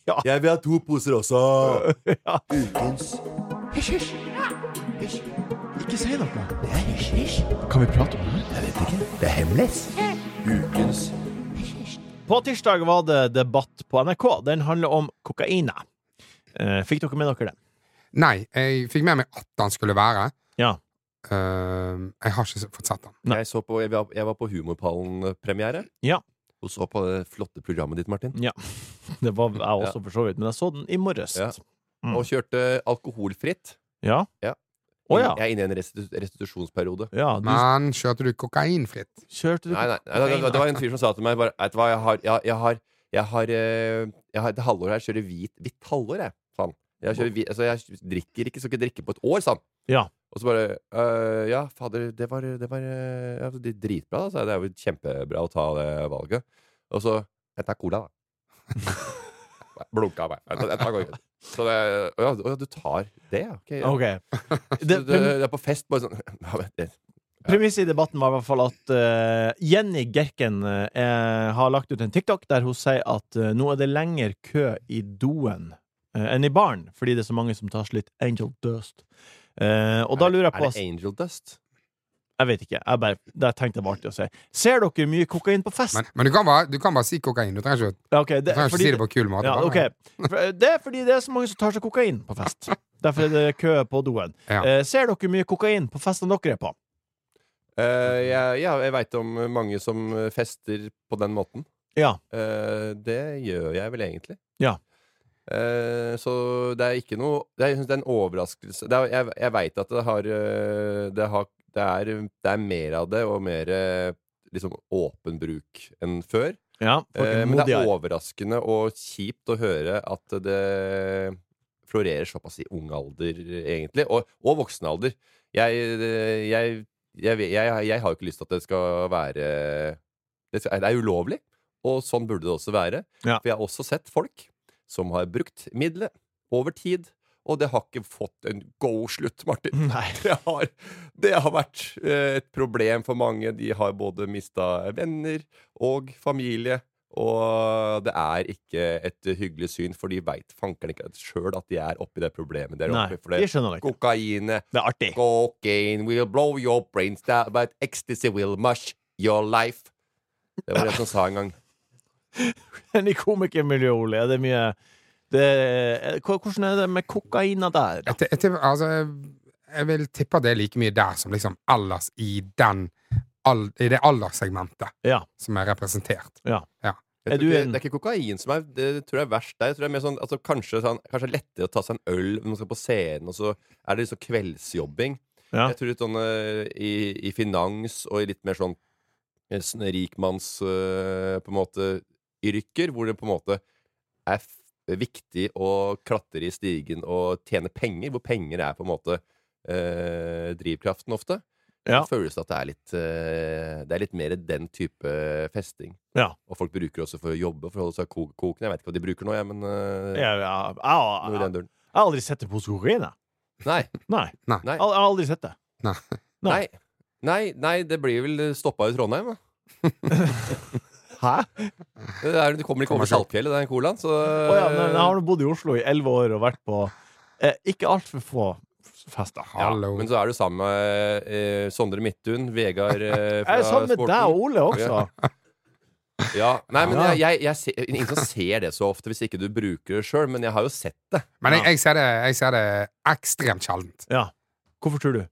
S1: Ja.
S2: Jeg vil ha to poser også!
S1: ja. På tirsdag var det debatt på NRK. Den handler om kokaina. Eh, fikk dere med dere det?
S3: Nei, jeg fikk med meg at han skulle være.
S1: Ja.
S3: Ehm, jeg har ikke fått sett han.
S1: Nei.
S2: Jeg, så på, jeg, var, jeg var på Humorpallen-premiere.
S1: Ja.
S2: Og så på det flotte programmet ditt, Martin.
S1: Det var jeg også, for så vidt. Men jeg så den i morges.
S2: Ja.
S1: Mm.
S2: Og kjørte alkoholfritt.
S1: Ja?
S2: Ja.
S1: Å ja.
S2: Jeg er inne i en restitu restitusjonsperiode.
S1: Ja, du
S3: Men kjørte du kokainfritt?
S1: kjørte du
S2: Nei, nei, nei, det, det var en fyr som sa til meg bare, Vet du hva, jeg har Jeg, jeg har, jeg har, eh, jeg har et halvår her, jeg kjører hvit Hvitt halvår, jeg, sa han. Jeg, kjører hvit, altså, jeg drikker ikke, skal ikke drikke på et år, sa han.
S1: Ja.
S2: Og så bare «Øh, Ja, fader, det var, det var eh, ja, det er dritbra, da. sa jeg. Det er jo kjempebra å ta det valget. Og så Jeg tar cola, da. Blunka meg. Jeg tar, jeg tar cola. så det Å ja, å ja, du tar det, ja. Ok. ja.
S1: OK.
S2: Så
S1: Det,
S2: Det,
S1: prem,
S2: det er på fest, bare sånn ja, men det-
S1: premisset i debatten var i hvert fall at eh, Jenny Gerken eh, har lagt ut en TikTok der hun sier at eh, nå er det lenger kø i doen eh, enn i baren, fordi det er så mange som tar slitt angel dust. Eh, og da lurer jeg på
S2: Er det angel dust?
S1: Jeg vet ikke. Jeg bare, det tenkte jeg var artig å si. Ser dere mye kokain på fest?
S3: Men, men du, kan bare, du kan bare si kokain. Du trenger ikke,
S1: Ja, ok, det,
S3: du trenger ikke
S1: fordi,
S3: si det på en kul måte.
S1: ja,
S3: bare.
S1: ok. For- eh, det er fordi det er så mange som tar seg kokain på fest. Derfor er det kø på doen.
S3: Ja.
S1: Eh, ser dere mye kokain på festene dere er på?
S2: Eh, jeg ja, jeg veit om mange som fester på den måten.
S1: Ja.
S2: Eh, det gjør jeg vel egentlig.
S1: Ja.
S2: Eh, så det er ikke noe det er, Jeg synes det er en overraskelse. Det er, jeg jeg veit at det har, eh, det har det er, det er mer av det, og mer eh, liksom åpen bruk enn før.
S1: Ja, folk
S2: Eh,
S1: er
S2: men det er
S1: modigere.
S2: overraskende og kjipt å høre at det florerer såpass i ung alder, egentlig. Og, og voksen alder. Jeg, eh, jeg, jeg, vet- jeg, jeg har jo ikke lyst til at det skal være Det, skal, det er ulovlig, og sånn burde det også være.
S1: Ja.
S2: For jeg har også sett folk som har brukt middelet over tid, og det har ikke fått en god slutt, Martin.
S1: Nei.
S2: Det har, det har vært eh, et problem for mange. De har både mista venner og familie. Og det er ikke et hyggelig syn, for de veit fankeren ikke sjøl at de er oppi det problemet der
S1: Nei,
S2: oppe. For
S1: de
S2: det
S1: skjønner det ikke.
S2: kokainet
S1: Det er artig.
S2: Cocaine will blow your brains down, but ecstasy will mush your life. Det var det som sa en gang.
S1: Men i komikermiljøet, Ole, er det mye det, er- hva- Hvordan er det med kokaina der?
S3: Jeg, ti- jeg, tipper- altså, jeg, jeg vil tippe at det er like mye der som liksom ellers i, den, all, i det alderssegmentet
S1: Ja.
S3: som er representert.
S1: ja.
S2: Jeg
S1: Er
S2: tror
S1: du
S2: ikke,
S1: en-
S2: det er ikke kokain som er Det tror jeg er verst der. Jeg tror det er mer sånn, altså, kanskje, sånn, kanskje lettere å ta seg en øl når man skal på scenen, og så er det liksom kveldsjobbing.
S1: Ja.
S2: Jeg tror litt sånn eh, i, i finans og i litt mer sånn sånn rikmanns eh, på en måte yrker, hvor det på en måte er f viktig å klatre i stigen og tjene penger, hvor penger er på en måte eh, drivkraften ofte.
S1: Ja.
S2: Så føles det at det er litt eh, Det er litt mer den type festing.
S1: Ja.
S2: Og folk bruker det også for å jobbe, for å holde seg ko kokende. Jeg vet ikke hva de bruker nå, jeg, men eh,
S1: Jeg, jeg,
S2: noe i
S1: jeg,
S2: den duren.
S1: jeg har aldri sett en pose kokain, jeg.
S2: Nei.
S1: Nei.
S2: Nei.
S1: Jeg har aldri sett det.
S3: Nei.
S1: Nei.
S2: Nei. Nei, nei, det blir vel stoppa i Trondheim, da.
S1: Hæ?
S2: Det, er, det kommer ikke over Saltfjellet, den colaen. Så
S1: Å ja, men jeg har nå bodd i Oslo i elleve år og vært på eh, ikke altfor få fester.
S3: Hallo.
S2: Men så er du sammen med eh, Sondre Midthun, Vegard eh, fra
S1: Jeg er sammen med
S2: Sporten.
S1: deg og Ole også.
S2: Ja. Nei, men
S1: Ja.
S2: jeg, jeg, jeg ser, Ingen som ser det så ofte hvis ikke du bruker det sjøl, men jeg har jo sett det.
S3: Men jeg, jeg, ser det, jeg ser det ekstremt sjeldent.
S1: Ja. Hvorfor tror du?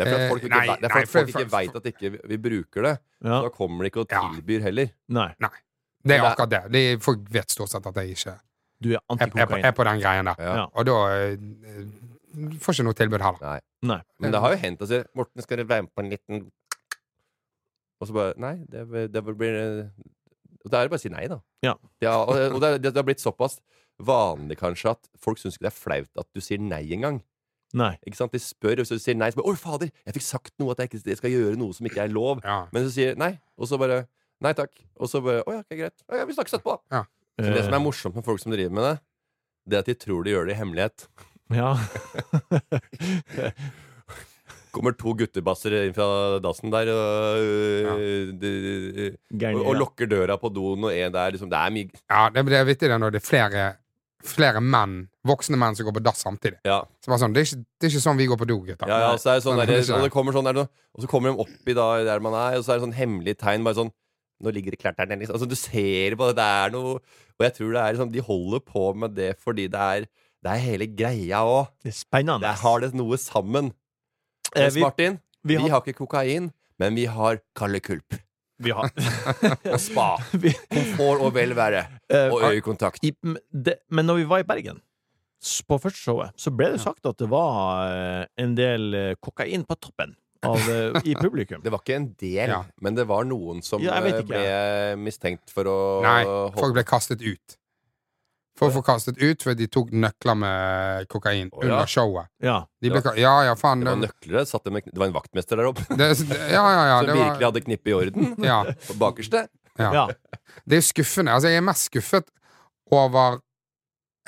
S2: Det er fordi
S3: Eh,
S2: at folk ikke,
S3: nei,
S2: nei,
S3: nei, for-
S2: folk ikke
S3: for-
S2: veit at ikke vi vi bruker det.
S1: Ja.
S2: Da kommer de ikke og
S3: Ja.
S2: tilbyr heller.
S1: Nei.
S3: Det er
S2: Men det-
S3: akkurat det. De, folk vet stort sett at jeg ikke
S1: Du er
S3: er, er, på,
S1: antikokain.
S3: er på den greien der.
S2: Ja.
S3: Og da eh, får ikke noe tilbud heller.
S2: Nei.
S1: Nei.
S2: Men det har jo hendt å si 'Morten, skal du være med på en liten Og så bare Nei, det, det blir eh, Og da er det bare å si nei, da.
S1: Ja.
S2: og det, og det, det har blitt såpass vanlig kanskje at folk syns ikke det er flaut at du sier nei engang.
S1: Nei.
S2: Ikke sant? De spør, og så sier de nei. Så bare 'Å, fader, jeg fikk sagt noe at jeg ikke jeg skal gjøre noe som ikke er lov.'
S3: Ja.
S2: Men så sier de nei, og så bare Nei takk. Og så bare Å ja, ok, greit. Å, ja, vi snakkes etterpå, da. Så det som
S1: Eh.
S2: er morsomt med folk som driver med det, det er at de tror de gjør det i hemmelighet.
S1: Ja.
S2: Kommer to guttebasser inn fra dassen der og, øh, de, og, og
S1: Gærne.
S2: lukker døra på doen, og en der liksom Det er mye
S3: Ja, det, det er vittig det når det er flere, flere menn, voksne menn, som går på dass samtidig.
S2: Ja.
S3: Så bare sånn, det er, ikke, det er ikke sånn vi går på do, gutter.
S2: Ja, ja, og så er det sånn
S3: Nei,
S2: der,
S3: det er ikke
S2: og,
S3: det.
S2: det kommer sånn der, nå- og så kommer de oppi da, der man er, og så er det sånn hemmelig tegn. Bare sånn Nå ligger det klart der nede. liksom. Altså, du ser på det, det er noe Og jeg tror det er liksom De holder på med det fordi det er Det er hele greia òg.
S1: Det er spennende.
S2: Der har det noe sammen.
S1: Eh,
S2: Mens
S1: vi-
S2: Martin,
S1: vi
S2: vi,
S1: har-
S2: har ikke kokain, men vi har Kalle Kulp.
S1: Vi har
S2: Og spa.
S1: vi,
S2: Komfort og velvære.
S1: eh,
S2: Og øyekontakt.
S1: i, men det, men når vi var i Bergen s- på første showet, så ble det sagt at det var eh, en del eh, kokain på toppen av, eh, i publikum.
S2: Det var ikke en del,
S3: Ja.
S2: men det var noen som
S1: Ja, jeg vet
S2: eh,
S1: ikke,
S2: ble mistenkt for å
S3: Nei,
S2: holde-
S3: folk ble kastet ut. Folk ble kastet ut fordi de tok nøkler med kokain
S2: Å, ja.
S3: under showet.
S1: Ja.
S3: De
S2: Ja.
S3: ble, ka- ja, ja, faen.
S2: Det var
S3: Det,
S2: nøkler der. satt det med- Det var en vaktmester der oppe.
S3: det, ja, ja, ja.
S2: som
S3: Det
S2: virkelig
S3: var,
S2: hadde knippet i orden.
S3: ja.
S2: På bakerste.
S3: Ja.
S1: Ja.
S3: Det er jo skuffende. Altså, jeg er mest skuffet over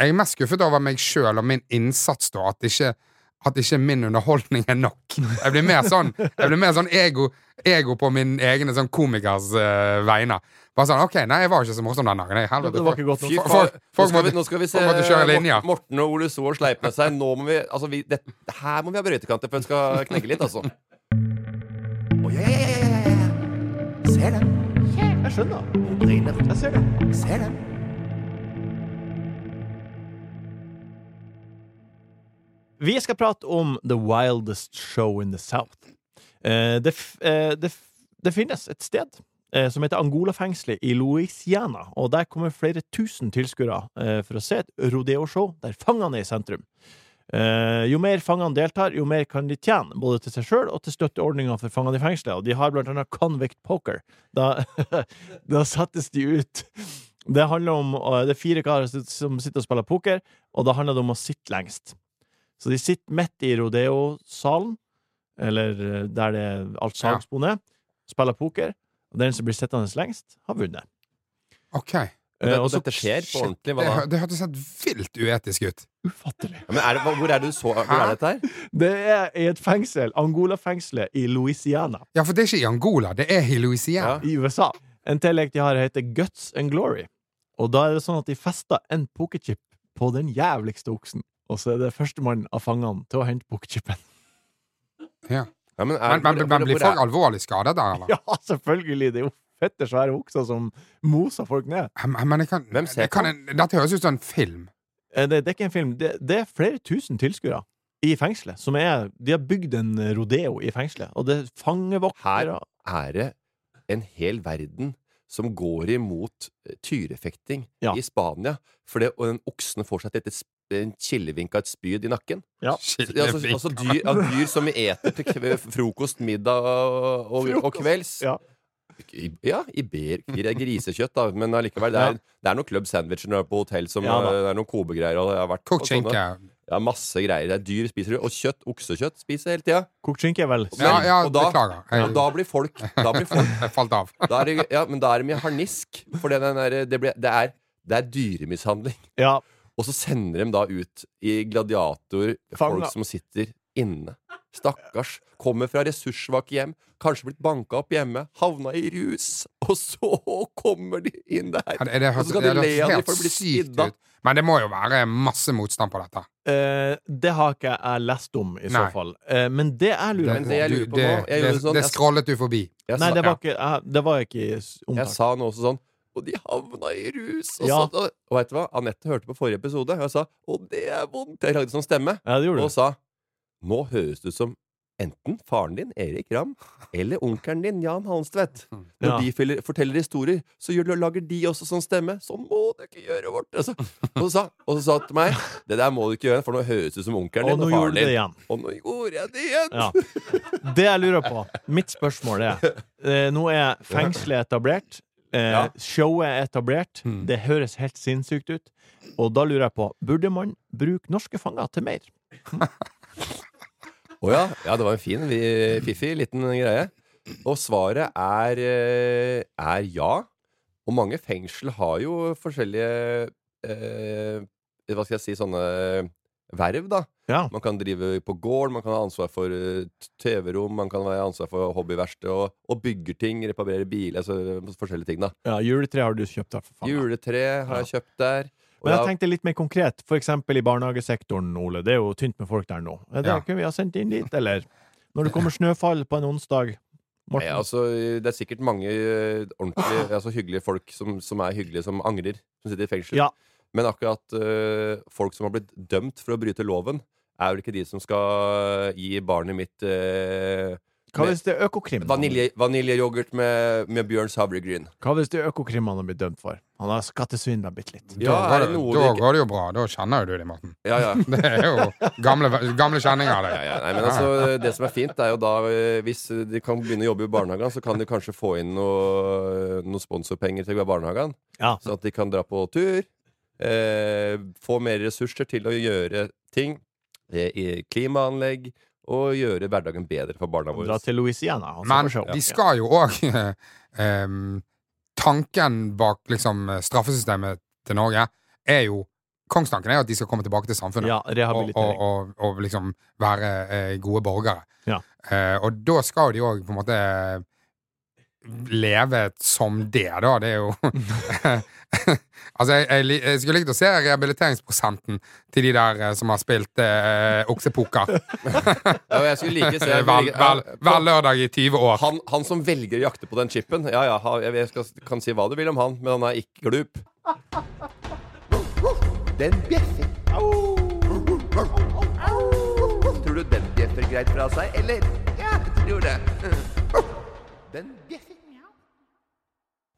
S3: Jeg er mest skuffet over meg sjøl og min innsats, da. At ikke, at ikke min underholdning er nok. Jeg blir mer sånn, jeg blir mer sånn ego, ego på min egne sånn komikers eh, vegne. Bare sånn OK, nei, jeg var ikke så morsom den dagen. jeg. Helvete,
S1: Det var ikke godt
S2: Fy
S1: nok.
S3: Folk-
S2: faen. Nå
S3: folk
S2: skal vi,
S3: måtte-
S2: nå skal vi se
S3: folk måtte kjøre
S2: Mort-
S3: linja.
S2: Morten og Ole So og sleipe med seg. Nå må vi, altså vi, det, her må vi ha brøytekanter for den skal knekke litt, altså.
S1: Eh,
S4: Å, ja, ja, ja, ja, ja, ja. Ser den.
S1: Jeg skjønner.
S4: Hun brenner.
S1: Jeg ser det.
S4: Ser den.
S1: Vi skal prate om The Wildest Show in the South. Eh, det, f eh, det, f det finnes et sted eh, som heter Angola-fengselet i Louisiana, og der kommer flere tusen tilskuere eh, for å se et rodeo-show der fangene er i sentrum. Eh, jo mer fangene deltar, jo mer kan de tjene, både til seg sjøl og til støtteordninger for fangene i fengselet. Og de har blant annet Convict Poker. Da, da settes de ut. Det handler om eh, Det er fire karer som- som sitter og spiller poker, og da handler det om å sitte lengst. Så de sitter midt i rodeo-salen, eller eh, der det er alt
S3: Ja.
S1: sagspon er, spiller poker, og den som blir sittende lengst, har vunnet.
S3: OK.
S2: Og
S1: Eh,
S2: det-
S1: og
S2: og
S1: så-
S2: dette skjer på ordentlig.
S3: Det,
S2: Hva da?
S3: hø- det hørtes helt vilt uetisk ut.
S1: Ufattelig.
S2: Ja, Men er det, hvor er det du så Hvor er dette her?
S1: Det er i et fengsel, Angola-fengselet i Louisiana.
S3: Ja, for det er ikke i Angola, det er i Louisiana.
S1: i USA. En tillek de har heter Guts and Glory. Og da er det sånn at de fester en pokerchip på den jævligste oksen. Og så er det førstemann av fangene til å hente pokerchipen.
S3: Ja.
S2: Ja, men, er,
S3: Men, men,
S2: hvor-
S3: men
S2: hvor-
S3: blir
S2: hvor er-
S3: folk alvorlig skadet der, eller?
S1: Ja, selvfølgelig! Det er jo fette svære okser som moser folk ned.
S3: Men men jeg kan,
S2: Hvem ser
S3: jeg kan, dette høres ut som en film.
S1: Eh, Det, det er ikke en film. Det, det er flere tusen tilskuere i fengselet. Som er, de har bygd en rodeo i fengselet, og det er fangevoktere
S2: er det en hel verden som går imot eh, tyrefekting
S1: Ja.
S2: i Spania. For det, og den oksen får seg et lite sp- en killevink av et spyd i nakken.
S1: Ja.
S2: Så- Altså, altså dyr, ja, dyr som vi eter til kve- frokost, middag og, og, og kvelds.
S1: Ja.
S2: i- Ja, Iberkir er grisekjøtt, da, men allikevel. Det er, det er noen club sandwicher når du er på hotell, som,
S1: Ja, da.
S2: eh, det er noen Kobe-greier. og jeg har vært på
S3: Kokt
S2: sånne.
S3: skinke.
S2: Ja, masse greier. Det er dyr spiser du. Og kjøtt, oksekjøtt spiser jeg hele tida.
S1: Kokt skinke er vel
S2: Men-
S3: Ja, ja,
S2: og da-
S3: beklager. Jeg-
S2: Og da blir folk Da blir folk
S3: Jeg falt av.
S2: da er det, ja, men da er det mye harnisk. For det, den der, det, blir- det, er, det er dyremishandling.
S1: Ja.
S2: Og så sender de da ut i gladiator
S1: Fanga.
S2: folk som sitter inne. Stakkars. Kommer fra ressurssvake hjem. Kanskje blitt banka opp hjemme. Havna i rus. Og så kommer de inn der.
S3: Ja, det, det,
S2: Og så
S3: høres,
S2: skal
S3: det
S2: de le
S3: høres
S2: av dem
S3: helt
S2: for å bli
S3: sykt
S2: spidda.
S3: ut. Men det må jo være masse motstand på dette.
S1: Eh, det har ikke jeg lest om, i så
S3: Nei.
S1: fall. Eh, men det jeg lurer
S2: Men
S1: på
S2: det jeg
S3: Du,
S2: lurer på
S3: det,
S2: nå, jeg
S3: det,
S2: gjorde sånn-
S3: det
S2: jeg-
S3: scrollet du forbi.
S2: Jeg
S1: Nei,
S2: sa-
S1: det var ikke, jeg, det var ikke s-
S2: Jeg
S1: omtalt.
S2: sa noe også sånn Og de havna i rus Og,
S1: Ja.
S2: så, og, og vet du hva? Anette hørte på forrige episode Og jeg sa Og det er vondt Jeg lagde sånn stemme
S1: Ja, det gjorde du.
S2: Og sa Nå høres du som Enten faren din, Erik Ram Eller onkeren din, Jan Halmstvedt Når
S1: Ja.
S2: de feller- forteller historier Så gjør, lager de også sånn stemme Sånn må du ikke gjøre vårt altså, og, så sa, og så sa han til meg Det der må du ikke gjøre For nå høres du som onkeren
S1: Og
S2: din
S1: nå
S2: og
S1: gjorde
S2: faren
S1: du det
S2: din
S1: igjen.
S2: Og nå gjorde jeg det igjen
S1: Ja. Det jeg lurer på Mitt spørsmål er eh, Nå er fengselet etablert. Eh,
S2: Ja. Hmm.
S1: Showet er etablert.
S3: Mm.
S1: Det høres helt sinnssykt ut. Og da lurer jeg på Burde man bruke norske fanger til mer?
S2: Å ja. ja, det var en fin, vi- fiffig liten greie. Og svaret er, eh, er ja. Og mange fengsel har jo forskjellige eh, Hva skal jeg si sånne verv, da.
S1: Ja.
S2: Man kan drive på gård, man kan ha ansvar for eh, TV-rom, man kan ha ansvar for hobbyverksted og, og bygger ting, reparerer biler, altså forskjellige ting, da.
S1: ja juletre har du kjøpt der, for faen.
S2: Juletre har jeg kjøpt der. Og
S1: Men
S2: ja,
S1: jeg tenkte litt mer konkret. For eksempel i barnehagesektoren, Ole. Det er jo tynt med folk der nå. Er det
S3: Ja.
S1: kunne vi ha sendt inn dit, eller? Når det kommer snøfall på en onsdag Morten, Ah.
S2: Nei, altså, det er sikkert mange eh, ordentlige, altså hyggelige folk som, som er hyggelige, som angrer, som sitter i fengsel.
S1: Ja.
S2: Men akkurat eh, folk som har blitt dømt for å bryte loven, er vel ikke de som skal gi barnet mitt eh,
S1: hva hvis det er Økokrim?
S2: vanilje, vaniljeyoghurt med, med Bjørn Savregryn?
S1: Hva hvis det er Økokrim han har blitt dømt for? Han har skattesvindla bitte litt.
S2: Ja,
S3: da
S2: er det
S3: går det,
S2: noe
S3: da
S2: du ikke
S3: går det jo bra. Da kjenner jo du det, Morten.
S2: Ja, ja.
S3: Det er jo gamle, gamle kjenninger, det.
S2: Ja, ja. Nei, men altså, det som er fint, er jo da eh, Hvis de kan begynne å jobbe i barnehagen, så kan de kanskje få inn noe, noe sponsorpenger til barnehagen.
S1: Ja.
S2: Sånn at de kan dra på tur. Eh, få mer ressurser til å gjøre ting. eh, I klimaanlegg. Og gjøre hverdagen bedre for barna våre.
S1: Dra til Louisiana. Han
S3: Men
S1: skal på show.
S3: de skal jo òg Tanken bak liksom, straffesystemet til Norge er jo Kongstanken er jo at de skal komme tilbake til samfunnet.
S1: Ja,
S3: og,
S1: rehabilitering.
S3: og, og, og liksom være eh, gode borgere.
S1: Ja.
S3: Eh, og da skal de òg på en måte leve som det, da. Det er jo Altså, jeg, jeg, li- jeg skulle likt å se rehabiliteringsprosenten til de der eh, som har spilt eh, oksepoker Eh,
S2: Ja, og jeg skulle like se
S3: hver, hver, hver lørdag i 20 år.
S2: han, han som velger å jakte på den chipen. Ja, ja, ha- jeg, jeg skal, kan si hva du vil om han, men han er ikke glup.
S4: Den bjeffer. Tror du den bjeffer greit fra seg, eller? Ja, jeg tror det. Den bjeffer.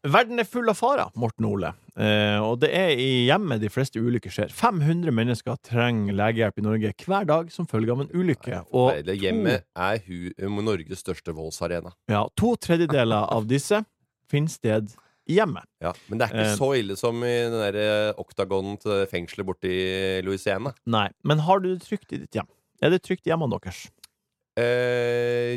S1: Verden er full av farer, Morten Ole. Eh, og det er i hjemmet de fleste ulykker skjer. 500 mennesker trenger legehjelp i Norge hver dag som følge av en ulykke. Og
S2: Deilig. Hjemmet er hu um, Norges største voldsarena.
S1: ja, to tredjedeler av disse finner sted i hjemmet.
S2: Ja, Men det er
S1: Eh,
S2: ikke så ille som i den der eh, oktagonen til det fengselet borte i Louisiana.
S1: Nei. Men har du det trygt i ditt hjem? Er det trygt i hjemmene deres?
S2: Eh,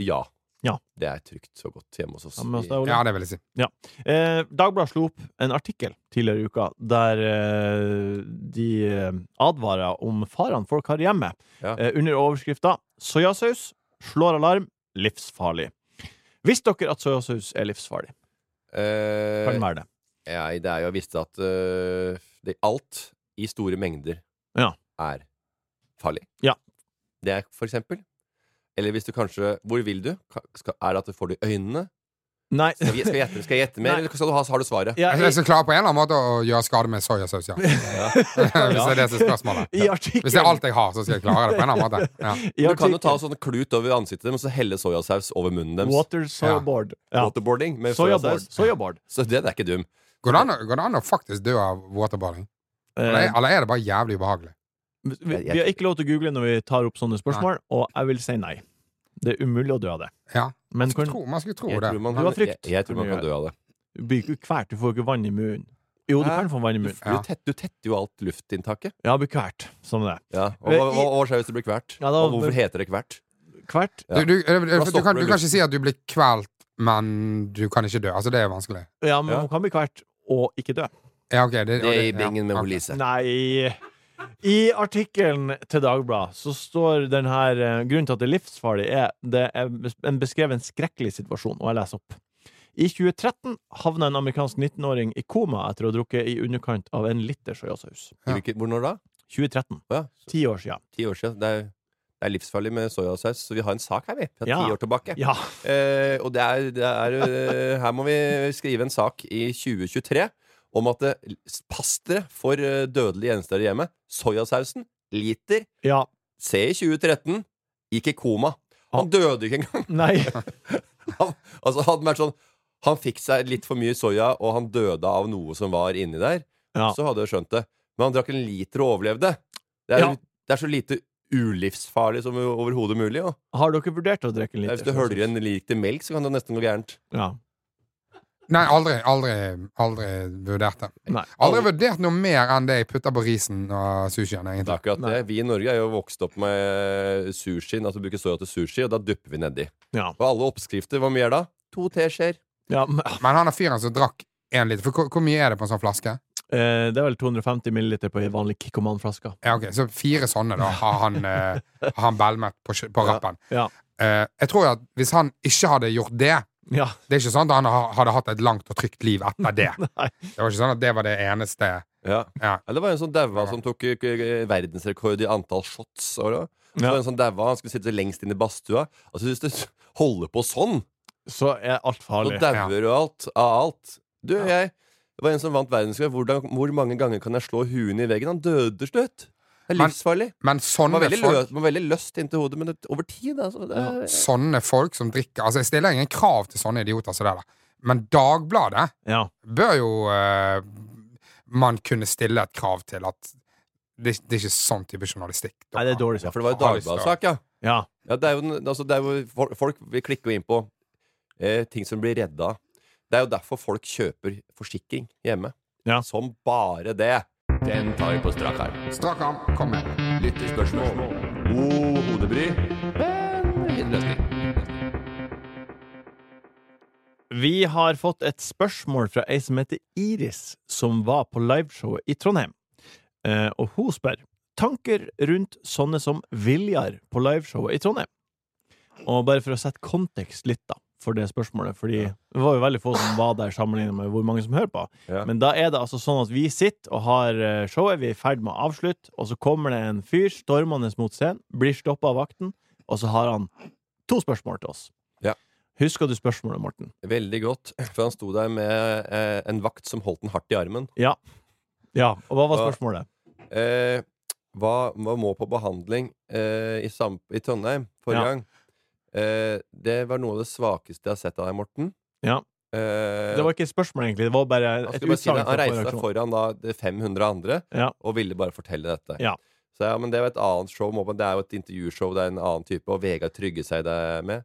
S2: ja.
S1: Ja. altså,
S2: Det er trygt så godt hjemme hos oss.
S1: Hjemme hos deg, Ole?
S3: Ja, det vil jeg si.
S1: Eh, Dagbladet slo opp en artikkel tidligere i uka der eh, de eh, advarer om farene folk har hjemme,
S2: Ja.
S1: eh, under overskrifta 'Soyasaus slår alarm livsfarlig'. Visste dere at soyasaus er livsfarlig? Kan
S2: eh,
S1: være det.
S2: jeg, det er jo jeg visste at eh, det, alt i store mengder
S1: Ja.
S2: er farlig.
S1: Ja.
S2: Det er for eksempel Eller hvis du kanskje Hvor vil du? Ka- Skal, er det at du får det i øynene?
S1: Nei.
S2: Skal jeg, skal jeg, gjette, skal jeg gjette mer,
S1: Nei.
S2: eller skal du ha, har du svaret?
S1: Ja,
S3: Jeg,
S1: i,
S3: jeg skal klare på en eller annen måte å gjøre skade med soyasaus, ja. Hvis det er det som er spørsmålet.
S1: i artikkelen
S3: Hvis det er alt jeg har, så skal jeg klare det på en eller annen måte. Ja.
S1: i
S2: du kan jo
S1: artikkelen-
S2: ta sånn klut over ansiktet dem og så helle soyasaus over munnen deres.
S1: Water soyaboard. Ja.
S2: Waterboarding med
S1: Soyaboard.
S2: soyasaus.
S1: soyaboard.
S2: Så det, det er ikke dum.
S3: Går det an, å- går det an å faktisk dø av waterboarding? Eller,
S1: Eh,
S3: eller er det bare jævlig ubehagelig?
S1: vi, vi har ikke lov til å google når vi tar opp sånne spørsmål, og jeg vil si nei. Det er umulig å dø av det.
S3: Ja,
S1: Men
S2: Altså,
S1: kan,
S3: Tro, man skulle tro
S2: Mm, Jeg
S3: det.
S2: tror man,
S1: Du har
S2: kan-
S1: frykt.
S2: Jeg, jeg tror man kan dø av det.
S1: du blir ikke kvært, du får ikke vann i munnen. Jo, du
S2: Hæ?
S1: kan få vann i
S2: Du,
S1: munnen.
S2: du, tett, du tetter jo alt luftinntaket.
S1: Ja, blir kvært. Sånn er det.
S2: Ja. Og
S1: Men
S2: hva,
S1: i-
S2: hva, hva skjer hvis det blir kvert?
S1: Ja, da-
S2: og hvorfor heter det kvert?
S1: Kvært?
S2: Ja.
S3: Du, du, du,
S2: stopper
S3: du, kan,
S2: det liksom?
S3: du kan ikke si at du blir kvalt, men du kan ikke dø. Altså, det er vanskelig.
S1: Ja, men
S2: Ja.
S1: man kan bli kvært og ikke dø.
S3: Ja, ok. Det,
S2: Det er Eh, i
S3: ja,
S2: bingen med
S3: ok.
S2: Holise.
S1: Nei. I artikkelen til Dagbladet så står den her eh, Grunnen til at det er livsfarlig, er det er bes- en beskrevet en skrekkelig situasjon, og jeg leser opp. I 2013 havna en amerikansk 19-åring i koma etter å ha drukket i underkant av en liter soyasaus.
S2: I hvilket- Hvor når da?
S1: 2013.
S2: Å ja, så-
S1: Ti år sia.
S2: ti år siden. Det er, det er livsfarlig med soyasaus, så vi har en sak her, vi. Fra
S1: Ja.
S2: ti år tilbake.
S1: Ja.
S2: Eh, og det er, det er eh, Her må vi skrive en sak i 2023 om at eh, pass dere for eh, dødelige gjenstander hjemme. Soyasausen, liter,
S1: ja.
S2: se i 2013, gikk i koma.
S3: Ah.
S2: Han døde ikke engang.
S1: Nei.
S2: Han, altså, hadde det vært sånn han fikk seg litt for mye soya, og han døde av noe som var inni der.
S1: Ja.
S2: Så hadde jeg skjønt det. Men han drakk en liter og overlevde. Det er,
S1: Ja.
S2: det er så lite ulivsfarlig som overhodet mulig. Og.
S1: Har dere vurdert å drikke en liter?
S2: Hvis du
S1: soyasaus?
S2: høljer en liter melk, så kan det nesten gå gærent.
S1: Ja.
S3: Nei, aldri, aldri, aldri vurdert det.
S1: Nei.
S3: Aldri vurdert noe mer enn det jeg putter på risen og sushien,
S2: Det er
S3: egentlig.
S2: akkurat det. Vi i Norge er jo vokst opp med sushi, altså bruker soya til sushi, og da dypper vi nedi.
S1: Ja.
S2: Og alle oppskrifter, hva mye er da? To teskjeer.
S1: ja men, ah,
S3: Men han er fyren som drakk én liter. For hvor, hvor mye er det på en sånn flaske?
S1: eh, det er vel 250 milliliter på ei vanlig Kikkoman-flaske.
S3: Ja, ok, Så fire sånne da har han, eh, har han belmet på, kjø- på
S2: Ja.
S3: rappen.
S1: Ja.
S3: Eh, jeg tror jo at hvis han ikke hadde gjort det
S1: Ja.
S3: Det er ikke sånn at han ha- hadde hatt et langt og trygt liv etter det.
S1: Nei.
S3: Det var ikke sånn at det var det eneste
S2: Ja.
S3: Ja.
S2: Det var en sånn daua som tok eh, k- verdensrekord i antall shots. Og da. Så
S1: Ja.
S2: var det en sånn daua, Han skulle sitte lengst inn i badstua. Altså, Hvis du holder på sånn,
S1: Så er alt
S2: så
S1: farlig.
S2: dauer du alt av alt. Du, jeg det var en som vant verdensrekord. Hvordan- Hvor mange ganger kan jeg slå huet i veggen? Han døde til slutt. Det er
S3: Men-
S2: livsfarlig.
S3: Men
S2: Man
S3: sånne
S2: var veldig, lø,
S3: folk,
S2: man var veldig løst inntil hodet, men det, over tid, altså. Det er,
S3: sånne folk som drikker Altså, jeg stiller ingen krav til sånne idioter som det der. Men Dagbladet
S1: Ja.
S3: bør jo eh, man kunne stille et krav til at det, det er ikke sånn type journalistikk. dere
S1: Nei, det er dårlig
S2: Ja,
S1: sak.
S2: for det var jo
S3: Har lyst til å-
S2: Dagbladet-sak, ja.
S1: Ja.
S2: ja det er jo, den- altså, det er jo, fol- folk vi klikker jo inn på eh, ting som blir redda. Det er jo derfor folk kjøper forsikring hjemme.
S1: Ja.
S2: Som bare det. Den tar vi på strak arm.
S3: Strak arm, kom med.
S2: Lyttespørsmål. God hodebry. Men
S1: Vi har fått et spørsmål fra ei som heter Iris, som var på liveshowet i Trondheim. Eh, og hun spør tanker rundt sånne som Viljar på liveshowet i Trondheim. Og bare for å sette kontekst litt, da, for det spørsmålet, fordi det var jo veldig få som var der sammenlignet med hvor mange som hører på.
S2: Ja.
S1: Men da er det altså sånn at vi sitter og har eh, showet, vi er i ferd med å avslutte, og så kommer det en fyr stormende mot scenen, blir stoppa av vakten, og så har han to spørsmål til oss.
S2: Ja.
S1: Husker du spørsmålet, Morten?
S2: Veldig godt, for han sto der med eh, en vakt som holdt den hardt i armen.
S1: Ja. ja. Og hva var
S2: Ja.
S1: spørsmålet?
S2: Eh, hva, hva må på behandling eh, i, sam i Trondheim forrige
S1: Ja.
S2: gang? Eh, det var noe av det svakeste jeg har sett av deg, Morten.
S1: Ja.
S2: Eh,
S1: Det var ikke et spørsmål, egentlig. Det var bare
S2: han,
S1: et
S2: skulle bare si
S1: utsagn.
S2: det. han
S1: fra
S2: reiste seg
S1: redaksjonen.
S2: foran da, det 500 andre
S1: Ja.
S2: og ville bare fortelle dette.
S1: Ja.
S2: Så ja, men det var et annet show. må man- Det er jo et intervjushow, det er en annen type, og Vegard Trygge seg det med.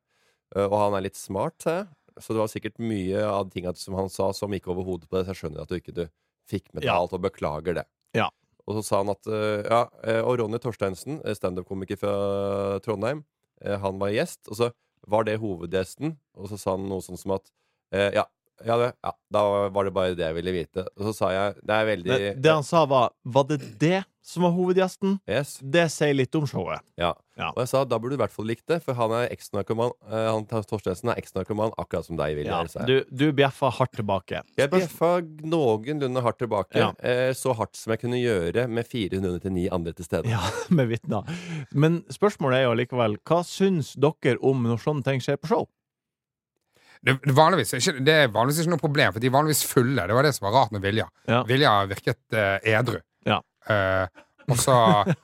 S2: Eh, Og han er litt smart, sa jeg. Så det var sikkert mye av de tingene som han sa, som gikk over hodet på deg. Så jeg skjønner at du ikke du fikk med deg
S1: Ja.
S2: alt, og beklager det.
S1: Ja.
S2: Og så sa han at eh, Ja, eh, og Ronny Torsteinsen, eh, standup-komiker fra Trondheim, eh, han var gjest, og så var det hovedgjesten, og så sa han noe sånn som at eh, Ja, ja, det, ja, da var det bare det jeg ville vite. Og så sa jeg Det er veldig
S1: Det, det han sa, var Var det det som var hovedgjesten?
S2: Yes.
S1: Det sier litt om showet.
S2: Ja.
S1: Ja.
S2: Og jeg sa da burde du i hvert fall likt det, for han er eksnarkoman. eh, Han Torstensen er eksnarkoman, akkurat som deg, Willy.
S1: Ja.
S2: sa jeg.
S1: Du, du bjeffa hardt tilbake.
S2: jeg bjeffa noenlunde hardt tilbake,
S1: Ja.
S2: eh, så hardt som jeg kunne gjøre med 499 andre til stede.
S1: Ja, med vitner. Men spørsmålet er jo allikevel hva syns dere om når sånne ting skjer på show?
S3: Det, det, vanligvis, er ikke, det er vanligvis ikke noe problem, for de er vanligvis fulle. Det var det som var rart med Vilja.
S1: Ja.
S3: Vilja virket eh, edru.
S1: Ja.
S3: Eh, og så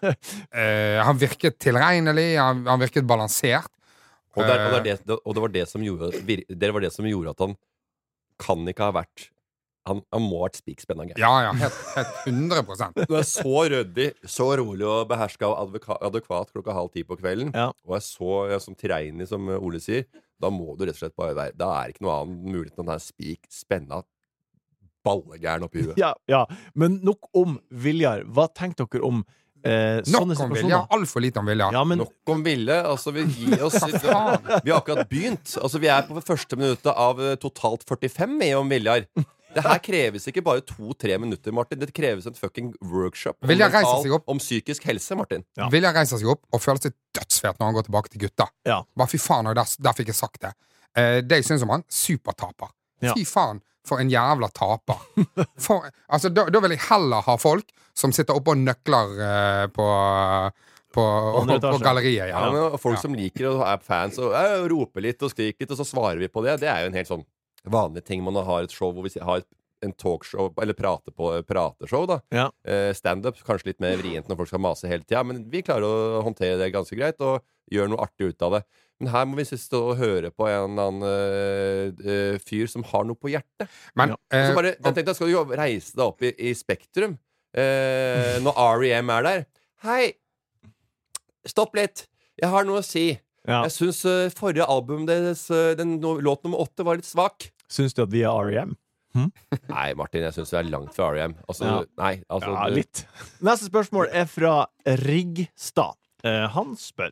S3: eh, Han virket tilregnelig, han, han virket balansert.
S2: Og, det er- og,
S1: Eh.
S2: det er det, og det, var det, som gjorde, vir- det var det som gjorde at han kan ikke ha vært Han, han må ha vært spikspenna gæren.
S3: Ja, ja. Helt, helt 100
S2: Du er så ryddig, så rolig og beherska og advoka- adekvat klokka halv ti på kvelden,
S1: Ja.
S2: og er så ja, som treinig, som Ole sier, Da må du rett og slett bare være Da er ikke noe annet mulighet enn at det er spik spenna ballegæren oppi huet.
S1: Ja, ja. Men nok om Viljar. Hva tenker dere om eh, sånne
S3: Nok om Vilja.
S1: situasjoner?
S3: Altfor lite om Vilja.
S1: Ja, men
S2: Nok om ville. Altså, vi gir oss Vi
S3: faen?
S2: har akkurat begynt. Altså, vi er på det første minuttet av eh, totalt 45 med om Viljar. Det her kreves ikke bare to-tre minutter, Martin. Det kreves en fucking workshop om,
S3: Viljar reiser seg opp.
S2: om psykisk helse, Martin.
S1: Ja.
S3: Vilja reiser seg opp og føler seg dødsfet når han går tilbake til gutta.
S1: Ja.
S3: Bare fy faen, og der, der fikk jeg sagt det. Eh, det jeg syns om han, supertaper.
S1: Ja.
S3: Fy faen, for en jævla taper. For, altså, da, da vil jeg heller ha folk som sitter oppe og nøkler eh, på, på,
S1: Andre
S3: på
S1: etasje.
S3: galleriet.
S2: Ja,
S3: Ja.
S2: men og Folk som liker og er fans og eh, roper litt og skriker litt, og så svarer vi på det. Det er jo en helt sånn vanlig ting man har et show hvor vi si- har et, en talkshow eller prate på, prateshow. da
S1: Ja.
S2: eh, Standup kanskje litt mer vrient når folk skal mase hele tida, men vi klarer å håndtere det ganske greit og gjøre noe artig ut av det. Men her må vi stå og høre på en eller annen eh, eh, fyr som har noe på hjertet.
S3: Men,
S2: Og
S3: eh,
S2: så bare, jeg tenkte, skal du jo reise deg opp i, i Spektrum eh, når REM er der? Hei! Stopp litt! Jeg har noe å si.
S1: ja.
S2: Jeg syns eh, forrige album deres, eh, den no, låt nummer åtte, var litt svak.
S1: syns du at vi er E REM?
S2: Nei, Martin, jeg syns du er langt fra REM. Altså,
S1: Ja.
S2: nei, altså
S1: Ja,
S2: du-
S1: litt. Neste spørsmål er fra Rigstad. Eh, han spør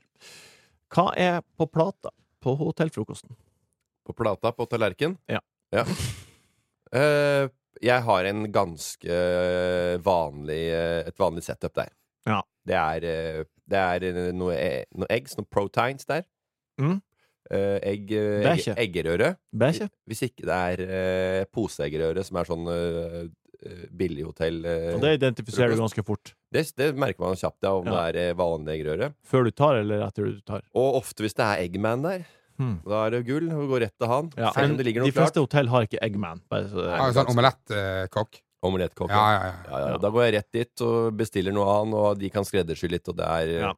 S1: Hva er på plata på hotellfrokosten?
S2: På plata, på tallerken?
S1: Ja.
S2: Eh, jeg har en ganske eh, vanlig eh, Et vanlig setup der.
S1: Ja.
S2: Det er, eh, det er eh, noe, e- noe eggs, noen proteins der.
S1: Mm.
S2: Eh, egg, eh,
S1: Det er
S2: egg,
S1: ikke.
S2: eggerøre.
S1: Bæsje?
S2: Hvis ikke det er eh, poseeggerøre, som er sånn eh, eh, billig hotell eh,
S1: Og det identifiserer du ganske fort.
S2: det, det merker man kjapt, ja, om
S1: Ja.
S2: det er eh, vanlig eggerøre.
S1: Før du tar, eller etter du tar.
S2: Og ofte hvis det er Eggman der,
S1: Hmm.
S2: da er det gull. Og går rett til han.
S1: Ja,
S2: Selv om
S1: men
S2: det ligger
S1: de
S2: noe klart.
S1: fleste hotell har ikke Eggman. Bare så det
S3: ja,
S1: er
S3: sånn omelettkokk.
S2: Omelettkokk.
S3: Ja, ja, ja.
S2: Ja, ja. Da går jeg rett dit og bestiller noe annet, og de kan skreddersy litt. Og det er
S1: Ja.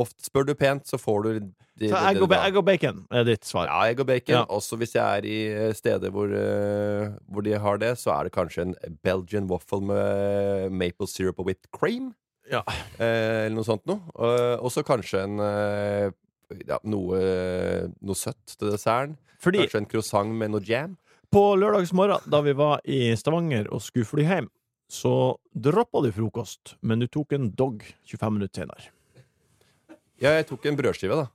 S2: Ofte spør du pent, så får du de, de,
S1: Så egg
S2: det
S1: og,
S2: du
S1: ba
S2: vil ha.
S1: egg og bacon er ditt svar.
S2: Ja, egg og bacon.
S1: Ja.
S2: Også hvis jeg er i eh, steder hvor, eh, hvor de har det, så er det kanskje en Belgian waffle med maple syrup og whipped cream.
S1: Ja.
S2: Eh, eller noe sånt noe. Eh, og så kanskje en eh, ja, noe, noe søtt til desserten.
S1: Fordi
S2: Kanskje en croissant med noe jam.
S1: på lørdags morgen, da vi var i Stavanger og skulle fly hjem, så droppa du frokost, men du tok en dog 25 minutter senere.
S2: Ja, jeg tok en brødskive, da.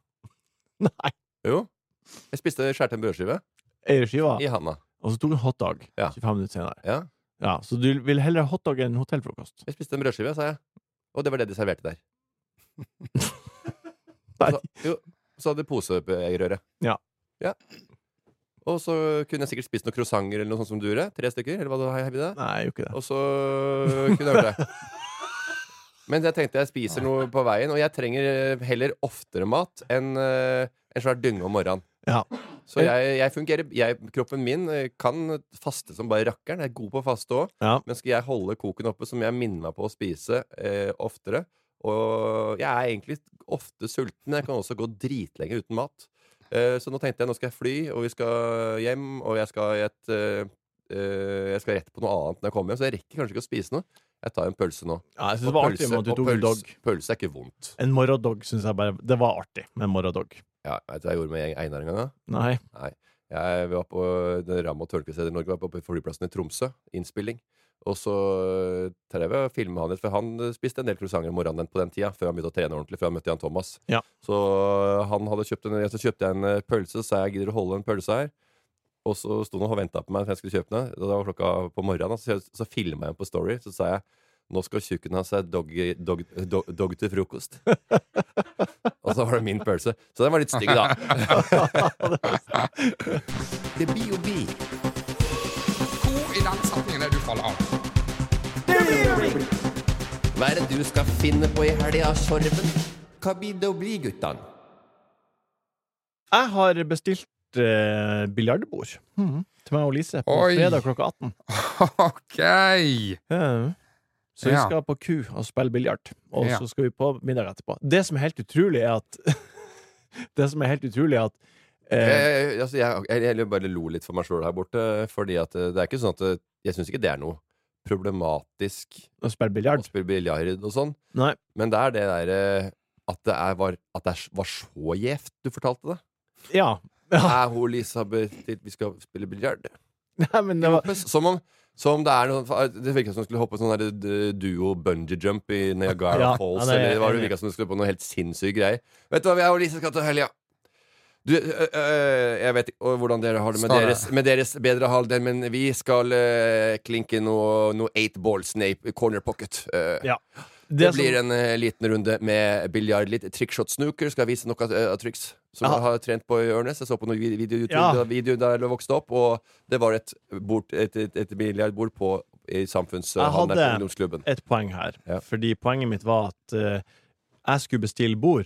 S1: Nei,
S2: Jo. Jeg spiste skjærte en brødskive
S1: eierskiva.
S2: i handa.
S1: Og så tok du en hotdog
S2: Ja.
S1: 25 minutter senere.
S2: Ja.
S1: Ja, Så du vil heller ha hotdog enn hotellfrokost?
S2: Jeg spiste en brødskive, sa jeg. Og det var det de serverte der.
S1: Nei.
S2: Så, jo, så hadde de poserøre.
S1: Ja.
S2: ja. Og så kunne jeg sikkert spist noen croissanter eller noe sånt som du gjorde. Tre stykker. Eller hva det var, Heidi, da.
S1: Nei, jeg gjorde ikke det.
S2: Og så kunne jeg gjort det. Men jeg tenkte jeg spiser noe på veien, og jeg trenger eh, heller oftere mat enn eh, en svær dynge om morgenen.
S1: Ja.
S2: Så jeg, jeg fungerer jeg, Kroppen min eh, kan faste som bare rakkeren. Jeg er god på å faste òg.
S1: Ja.
S2: Men skal jeg holde koken oppe, så må jeg minne meg på å spise eh, oftere. Og jeg er egentlig ofte sulten. Jeg kan også gå dritlenge uten mat. Eh, så nå tenkte jeg nå skal jeg fly, og vi skal hjem, og jeg skal i et eh, eh, Jeg skal rett på noe annet når jeg kommer hjem, så jeg rekker kanskje ikke å spise noe. Jeg tar en pølse nå.
S1: Ja, jeg synes
S2: Og
S1: det var artig med
S2: pølse,
S1: at du
S2: og
S1: tok en dog.
S2: pølse, pølse er ikke vondt.
S1: En morgendog syns jeg bare Det var artig med en morgendog.
S2: Ja, vet du hva jeg gjorde med Einar en gang? da?
S1: Nei.
S2: Jeg var på det Ram og Tørnquist i Norge var på flyplassen i Tromsø. Innspilling. Og så eh, drev jeg og filma han litt, for han eh, spiste en del croissanter om morgenen den- på den tida. Før han begynte å trene ordentlig, før han møtte Jan Thomas.
S1: Ja.
S2: Så eh, han hadde kjøpt en, så kjøpte jeg en eh, pølse, så sa jeg gidder du holde en pølse her? Og så sto han og venta på meg for jeg skulle kjøpe den. Det var klokka på morgenen, og så, så filma jeg den på Story. Så sa jeg nå skal tjukken ha seg dog, dog, dog, dog til frokost. og så var det min pølse. Så den var litt stygg, da.
S4: Det blir jo bi.
S3: Hvor i den setningen er det du faller av?
S4: Hva er det du skal finne på i helga, Sorven? Hva blir det å bli, guttan?
S1: Jeg har bestilt eh, biljardbord til meg og Lise på
S3: Oi.
S1: fredag klokka 18.
S3: OK!
S1: Ja. Så vi
S3: Ja.
S1: skal på ku og spille biljard, og
S3: Ja.
S1: så skal vi på middag etterpå. Det som er helt utrolig, er at Det som er helt utrolig, er at eh,
S2: Eh, altså, jeg, jeg, jeg bare lo litt for meg sjøl her borte, fordi at eh, det er ikke sånn at eh, Jeg syns ikke det er noe problematisk
S1: Å spille
S2: å
S1: biljard?
S2: spille biljard og sånn,
S1: Nei.
S2: men det eh, er det derre at det er, var, at det er, var så gjevt du fortalte det.
S1: Ja.
S2: Er hun Elisabeth til Vi skal spille biljard.
S1: Nei, men det var,
S2: Som om som om det er noe, Det virka som hun skulle hoppe sånn der d- duo bungee jump i Niagara
S1: Ja,
S2: Falls.
S1: ja, det er jeg
S2: eller var det
S1: enig i.
S2: virka som hun skulle på noe helt sinnssyke greier. Vet du hva, jeg og Lise skal til helga. Du, ø, ø, jeg vet ikke øh, hvordan dere har det med
S3: Skal det?
S2: deres, med deres bedre halvdel, men vi skal ø, klinke noe, noe eight ball snape corner pocket. Ø,
S1: ja.
S2: det, blir
S1: sånn-
S2: en ø, liten runde med biljard. Litt trickshot snooker. Skal jeg vise noe eh, av av triks som
S1: Ja.
S2: jeg har trent på i Ørnes. Jeg så på noen vid- video, YouTube,
S1: Ja.
S2: da- video da jeg vokste opp, og det var et, bord, et, et, et biljardbord på i
S1: Jeg
S2: samfunnshallen der på
S1: hadde
S2: ungdomsklubben.
S1: et poeng her.
S2: Ja.
S1: Fordi poenget mitt var at eh, jeg skulle bestille bord,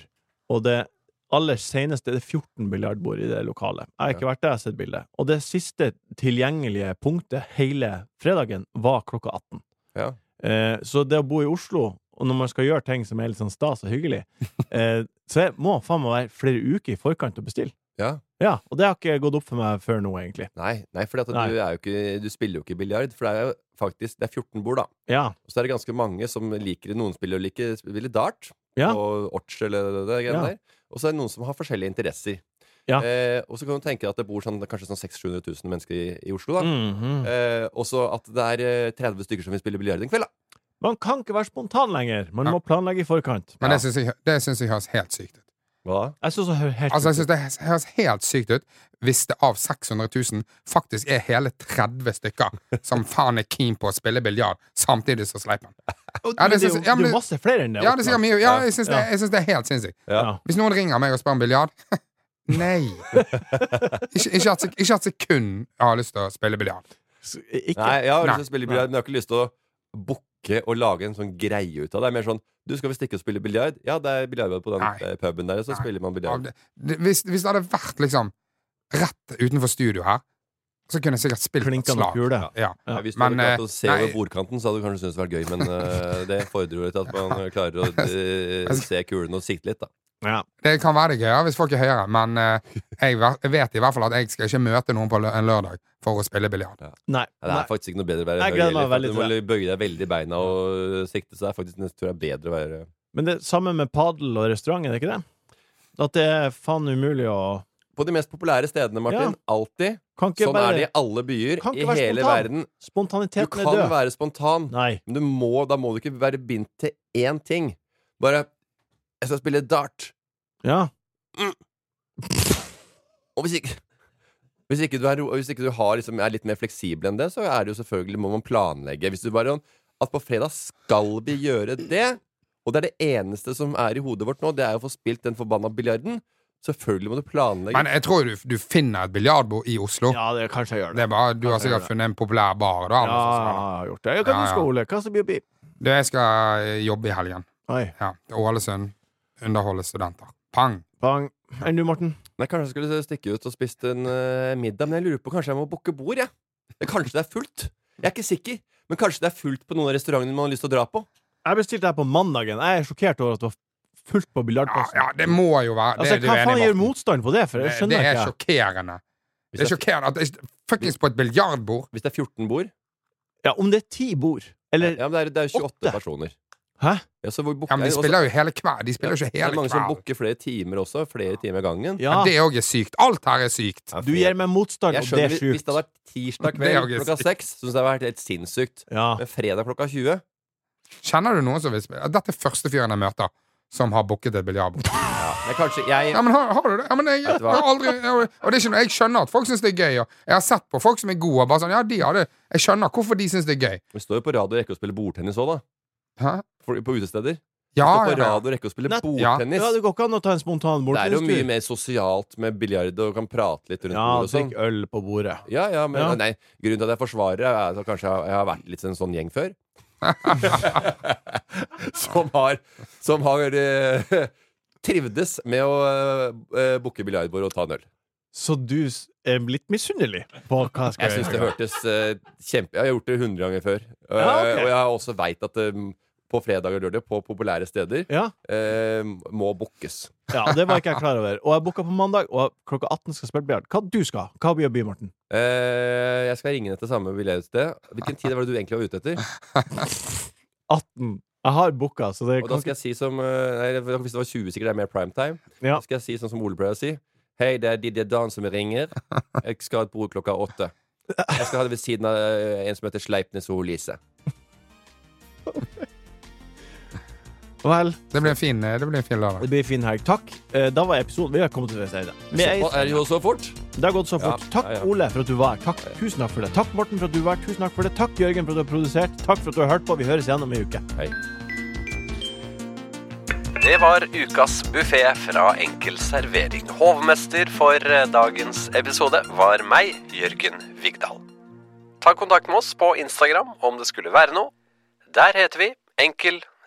S1: og det aller seneste det er 14 biljardbord i det lokalet. Jeg har ikke vært der, jeg har sett bildet. Og det siste tilgjengelige punktet hele fredagen var klokka 18.
S2: Ja.
S1: Eh, så det å bo i Oslo, og når man skal gjøre ting som er litt sånn stas og hyggelig, eh, så jeg må faen meg være flere uker i forkant å bestille.
S2: Ja.
S1: Ja, og det har ikke gått opp for meg før nå, egentlig.
S2: Nei, nei for du,
S1: Nei.
S2: er jo ikke- du spiller jo ikke biljard. For det er jo faktisk det er 14 bord, da.
S1: Ja.
S2: Og så er det ganske mange som liker Noen spiller jo like spiller dart
S1: Ja.
S2: og orch eller det, det greiene
S1: Ja.
S2: der. Og så er det noen som har forskjellige interesser.
S1: Ja.
S2: Eh, og så kan du tenke deg at det bor sånn, kanskje sånn 600 000-700 000 mennesker i, i Oslo. da
S1: Mhm.
S2: eh, Og så at det er eh, 30 stykker som vil spille biljard en kveld. da
S1: Man kan ikke være spontan lenger. Man må planlegge i forkant.
S3: Men det syns jeg, det synes jeg høres helt sykt ut.
S2: Hva?
S1: Jeg synes det hø- helt
S3: Altså, jeg synes Det høres helt sykt ut hvis det av 600 000 faktisk er hele 30 stykker som faen er keen på å spille biljard, samtidig som Sleipen. Ja,
S1: Men
S3: det
S1: det,
S3: synes-
S1: er jo,
S3: ja,
S1: det er
S3: men det-
S1: jo masse flere enn det.
S3: Ja, det sier mye. Ja,
S2: Ja.
S3: jeg syns det, jeg synes det er helt sinnssykt.
S2: Ja.
S1: Ja.
S3: Hvis noen ringer meg og spør om biljard Nei. Ikke, ikke, at, sek- ikke at sekund jeg har lyst til å spille biljard.
S1: S- Ikke.
S2: Nei, jeg har
S3: Nei.
S2: lyst til å spille biljard, men jeg har ikke lyst til å booke og lage en sånn greie ut av det. Det er mer sånn Du, skal vi stikke og spille biljard? Ja, det er biljardbord på den
S3: Nei.
S2: eh, puben der, og så
S3: Nei.
S2: spiller man
S3: Av
S2: biljard.
S3: det- det- Hvis, hvis det hadde vært liksom rett utenfor studio her, så kunne jeg sikkert spilt et
S1: Klinka noen
S3: slag.
S1: kule.
S3: Ja.
S1: Ja.
S2: Nei, Hvis du
S3: Men,
S2: hadde klart
S3: eh,
S2: å se
S3: nei.
S2: over bordkanten, så hadde du kanskje syntes det vært gøy, men eh, det fordrer jo litt at man klarer å eh, se kulene og sikte litt, da.
S1: Ja.
S3: Det kan være det gøyere hvis folk er høyere, men eh, jeg, ver- jeg vet i hvert fall at jeg skal ikke møte noen på lø en lørdag for å spille biljard.
S1: Nei.
S2: Ja, det
S1: Nei.
S2: er faktisk ikke noe bedre å være
S1: Jeg
S2: høy
S1: gleder
S2: heller,
S1: meg
S2: for
S1: veldig
S2: Du må bøye deg veldig i beina og sikte, så det er faktisk nesten tror jeg er bedre å være
S1: Men det er samme med padel og restaurant, er det ikke det? At det er faen umulig å
S2: På de mest populære stedene,
S1: Ja.
S2: Martin. Alltid.
S1: Kan ikke
S2: Sånn
S1: bare
S2: er det i alle byer
S1: Kan
S2: i
S1: ikke være
S2: hele
S1: spontan.
S2: verden. Du
S1: Spontaniteten er
S2: kan
S1: død.
S2: være spontan,
S1: Nei.
S2: men du må, da må du ikke være bindt til én ting. Bare 'Jeg skal spille dart'.
S1: Ja.
S2: Og hvis ikke hvis ikke du, er, ro- hvis ikke du har, liksom, er litt mer fleksibel enn det, så er det jo selvfølgelig må man planlegge. Hvis du bare sånn, At på fredag skal vi gjøre det, og det er det eneste som er i hodet vårt nå, det er å få spilt den forbanna biljarden. Selvfølgelig må du planlegge.
S3: Men jeg tror du, du finner et biljardbord i Oslo.
S1: ja, det kanskje jeg gjør
S3: Det
S1: det. sånn
S3: er bare, du
S1: Kanskje
S3: har
S1: jeg
S3: sikkert
S1: gjør det.
S3: funnet en populær bar. Da,
S1: Ja,
S3: eller noe sånt.
S1: jeg har gjort det. Hva
S3: Ja,
S1: du
S3: ja.
S1: skal, Ole? Hva som blir bi?
S3: Du, jeg skal eh, jobbe i helgen.
S1: Oi.
S3: Ja, til Ålesund. Underholde studenter. Pang!
S1: Pang. Enn du, Morten?
S2: Nei, kanskje jeg skulle stikke ut og spist en eh, middag, men jeg lurer på kanskje jeg må booke bord, jeg. Ja. Kanskje det er fullt. Jeg er ikke sikker, men kanskje det er fullt på noen av restaurantene man har lyst til å dra på.
S1: Jeg bestilte her på mandagen. Jeg er sjokkert over at det var fullt på
S3: Ja,
S1: biljardplassen.
S3: ja, det må jo være
S1: altså,
S3: det,
S1: hva
S3: er du
S1: faen
S3: enig i,
S1: gjør
S3: Morten.
S1: motstand på det? For jeg
S3: Det, det
S1: skjønner
S3: er
S1: ikke.
S3: sjokkerende. Det er
S2: Hvis det,
S3: sjokkerende at det er fuckings på et biljardbord.
S2: hvis det er 14 bord
S1: Ja, om det er ti bord, eller
S2: Ja, men det er, det er 28
S1: åtte.
S2: personer.
S1: Hæ?
S2: Ja, så hvor booker-
S3: Ja, men de
S2: også-
S3: spiller jo hele kveld. De spiller jo ikke
S2: Det er
S3: hele
S2: mange som
S3: kveld.
S2: booker flere timer også. Flere timer av gangen.
S1: Ja.
S3: Det òg er sykt. Alt her er sykt.
S2: Ja,
S1: Du
S2: faen.
S1: gir meg motstand,
S2: Jeg
S1: og det
S2: skjønner
S1: er
S2: hvis- Hvis
S1: sjukt.
S2: det hadde vært tirsdag
S3: Det er
S2: kveld
S3: jo ikke
S2: klokka
S3: sykt.
S2: seks, syns jeg det hadde vært helt sinnssykt.
S1: Ja.
S2: Men fredag klokka 20
S3: Kjenner du noen som vil spille? Dette er første fyren jeg møter som har booket et biljardbord.
S2: Men kanskje jeg
S3: Ja, men har, har du det? Ja, men jeg,
S2: Vet
S3: jeg
S2: du hva?
S3: har aldri jeg, Og det er ikke noe Jeg skjønner at folk syns det er gøy, og jeg har sett på folk som er gode, og bare sånn Ja, de har det Jeg skjønner hvorfor de syns det er gøy.
S2: Vi står jo på radio og rekker å spille bordtennis òg, da.
S3: Hæ?
S2: For, på utesteder.
S3: Ja,
S2: står på
S3: ja, ja.
S2: radio og rekker å spille
S1: Nett-
S3: Ja.
S2: bordtennis.
S1: Ja, det går ikke an å ta en spontan
S2: det er jo mye
S1: bordtennistur.
S2: mer sosialt med biljard og kan prate litt rundt
S1: Ja,
S2: bordet og
S1: drikk
S2: sånn.
S1: øl på bordet.
S2: Ja, ja, men
S1: Ja.
S2: nei, Grunnen til at jeg forsvarer, er at kanskje jeg, jeg har vært litt en sånn gjeng før. som har, som har eh, trivdes med å uh, booke biljardbord og ta en øl.
S1: Så du s- er blitt misunnelig på hva jeg
S2: Jeg
S1: skal
S2: syns det
S1: gjøre?
S2: hørtes eh, kjempe Jeg har gjort det 100 ganger før. Eh,
S1: Ja, ok.
S2: Og jeg har også veit at eh, på fredag og lørdag, på populære steder,
S1: Ja,
S2: eh, må bookes.
S1: ja, det var ikke jeg klar over. Og jeg booka på mandag, og klokka 18 skal jeg spille biljard. Hva du skal? Hva blir å by, Morten?
S2: Eh, jeg skal ringe ned til samme billettsted. Hvilken tid var det du egentlig var ute etter?
S1: 18. Jeg har booka, så det
S2: Og da
S1: kan
S2: skal jeg si som eh, nei, Hvis det var 20, sikkert det er mer prime time.
S1: Ja.
S2: Da skal jeg si sånn som Ole pleier å si.
S5: Hei, det er Didier Dan som ringer. Jeg skal ha et bord klokka åtte. Jeg skal ha det ved siden av eh, en som heter Sleipnes og Lise.
S1: Vel,
S3: Det blir en fin, eh, det blir en fin lørdag.
S1: det blir fin helg. Takk. Eh, Da var episoden Vi har kommet til veis ende. Vi er-
S5: Så, er det jo så fort?
S1: Det har gått så fort.
S5: Ja,
S1: Takk,
S5: ja, ja.
S1: Ole, for at du var her. Takk, Tusen takk for det. Takk, Morten, for at du var her. Tusen takk for det. Takk, Jørgen, for at du har produsert. Takk for at du har hørt på. Vi høres igjen om en uke.
S5: Hei.
S2: Det var ukas buffé fra Enkel servering. Hovmester for eh, dagens episode var meg, Jørgen Vigdal. Ta kontakt med oss på Instagram om det skulle være noe. Der heter vi Enkel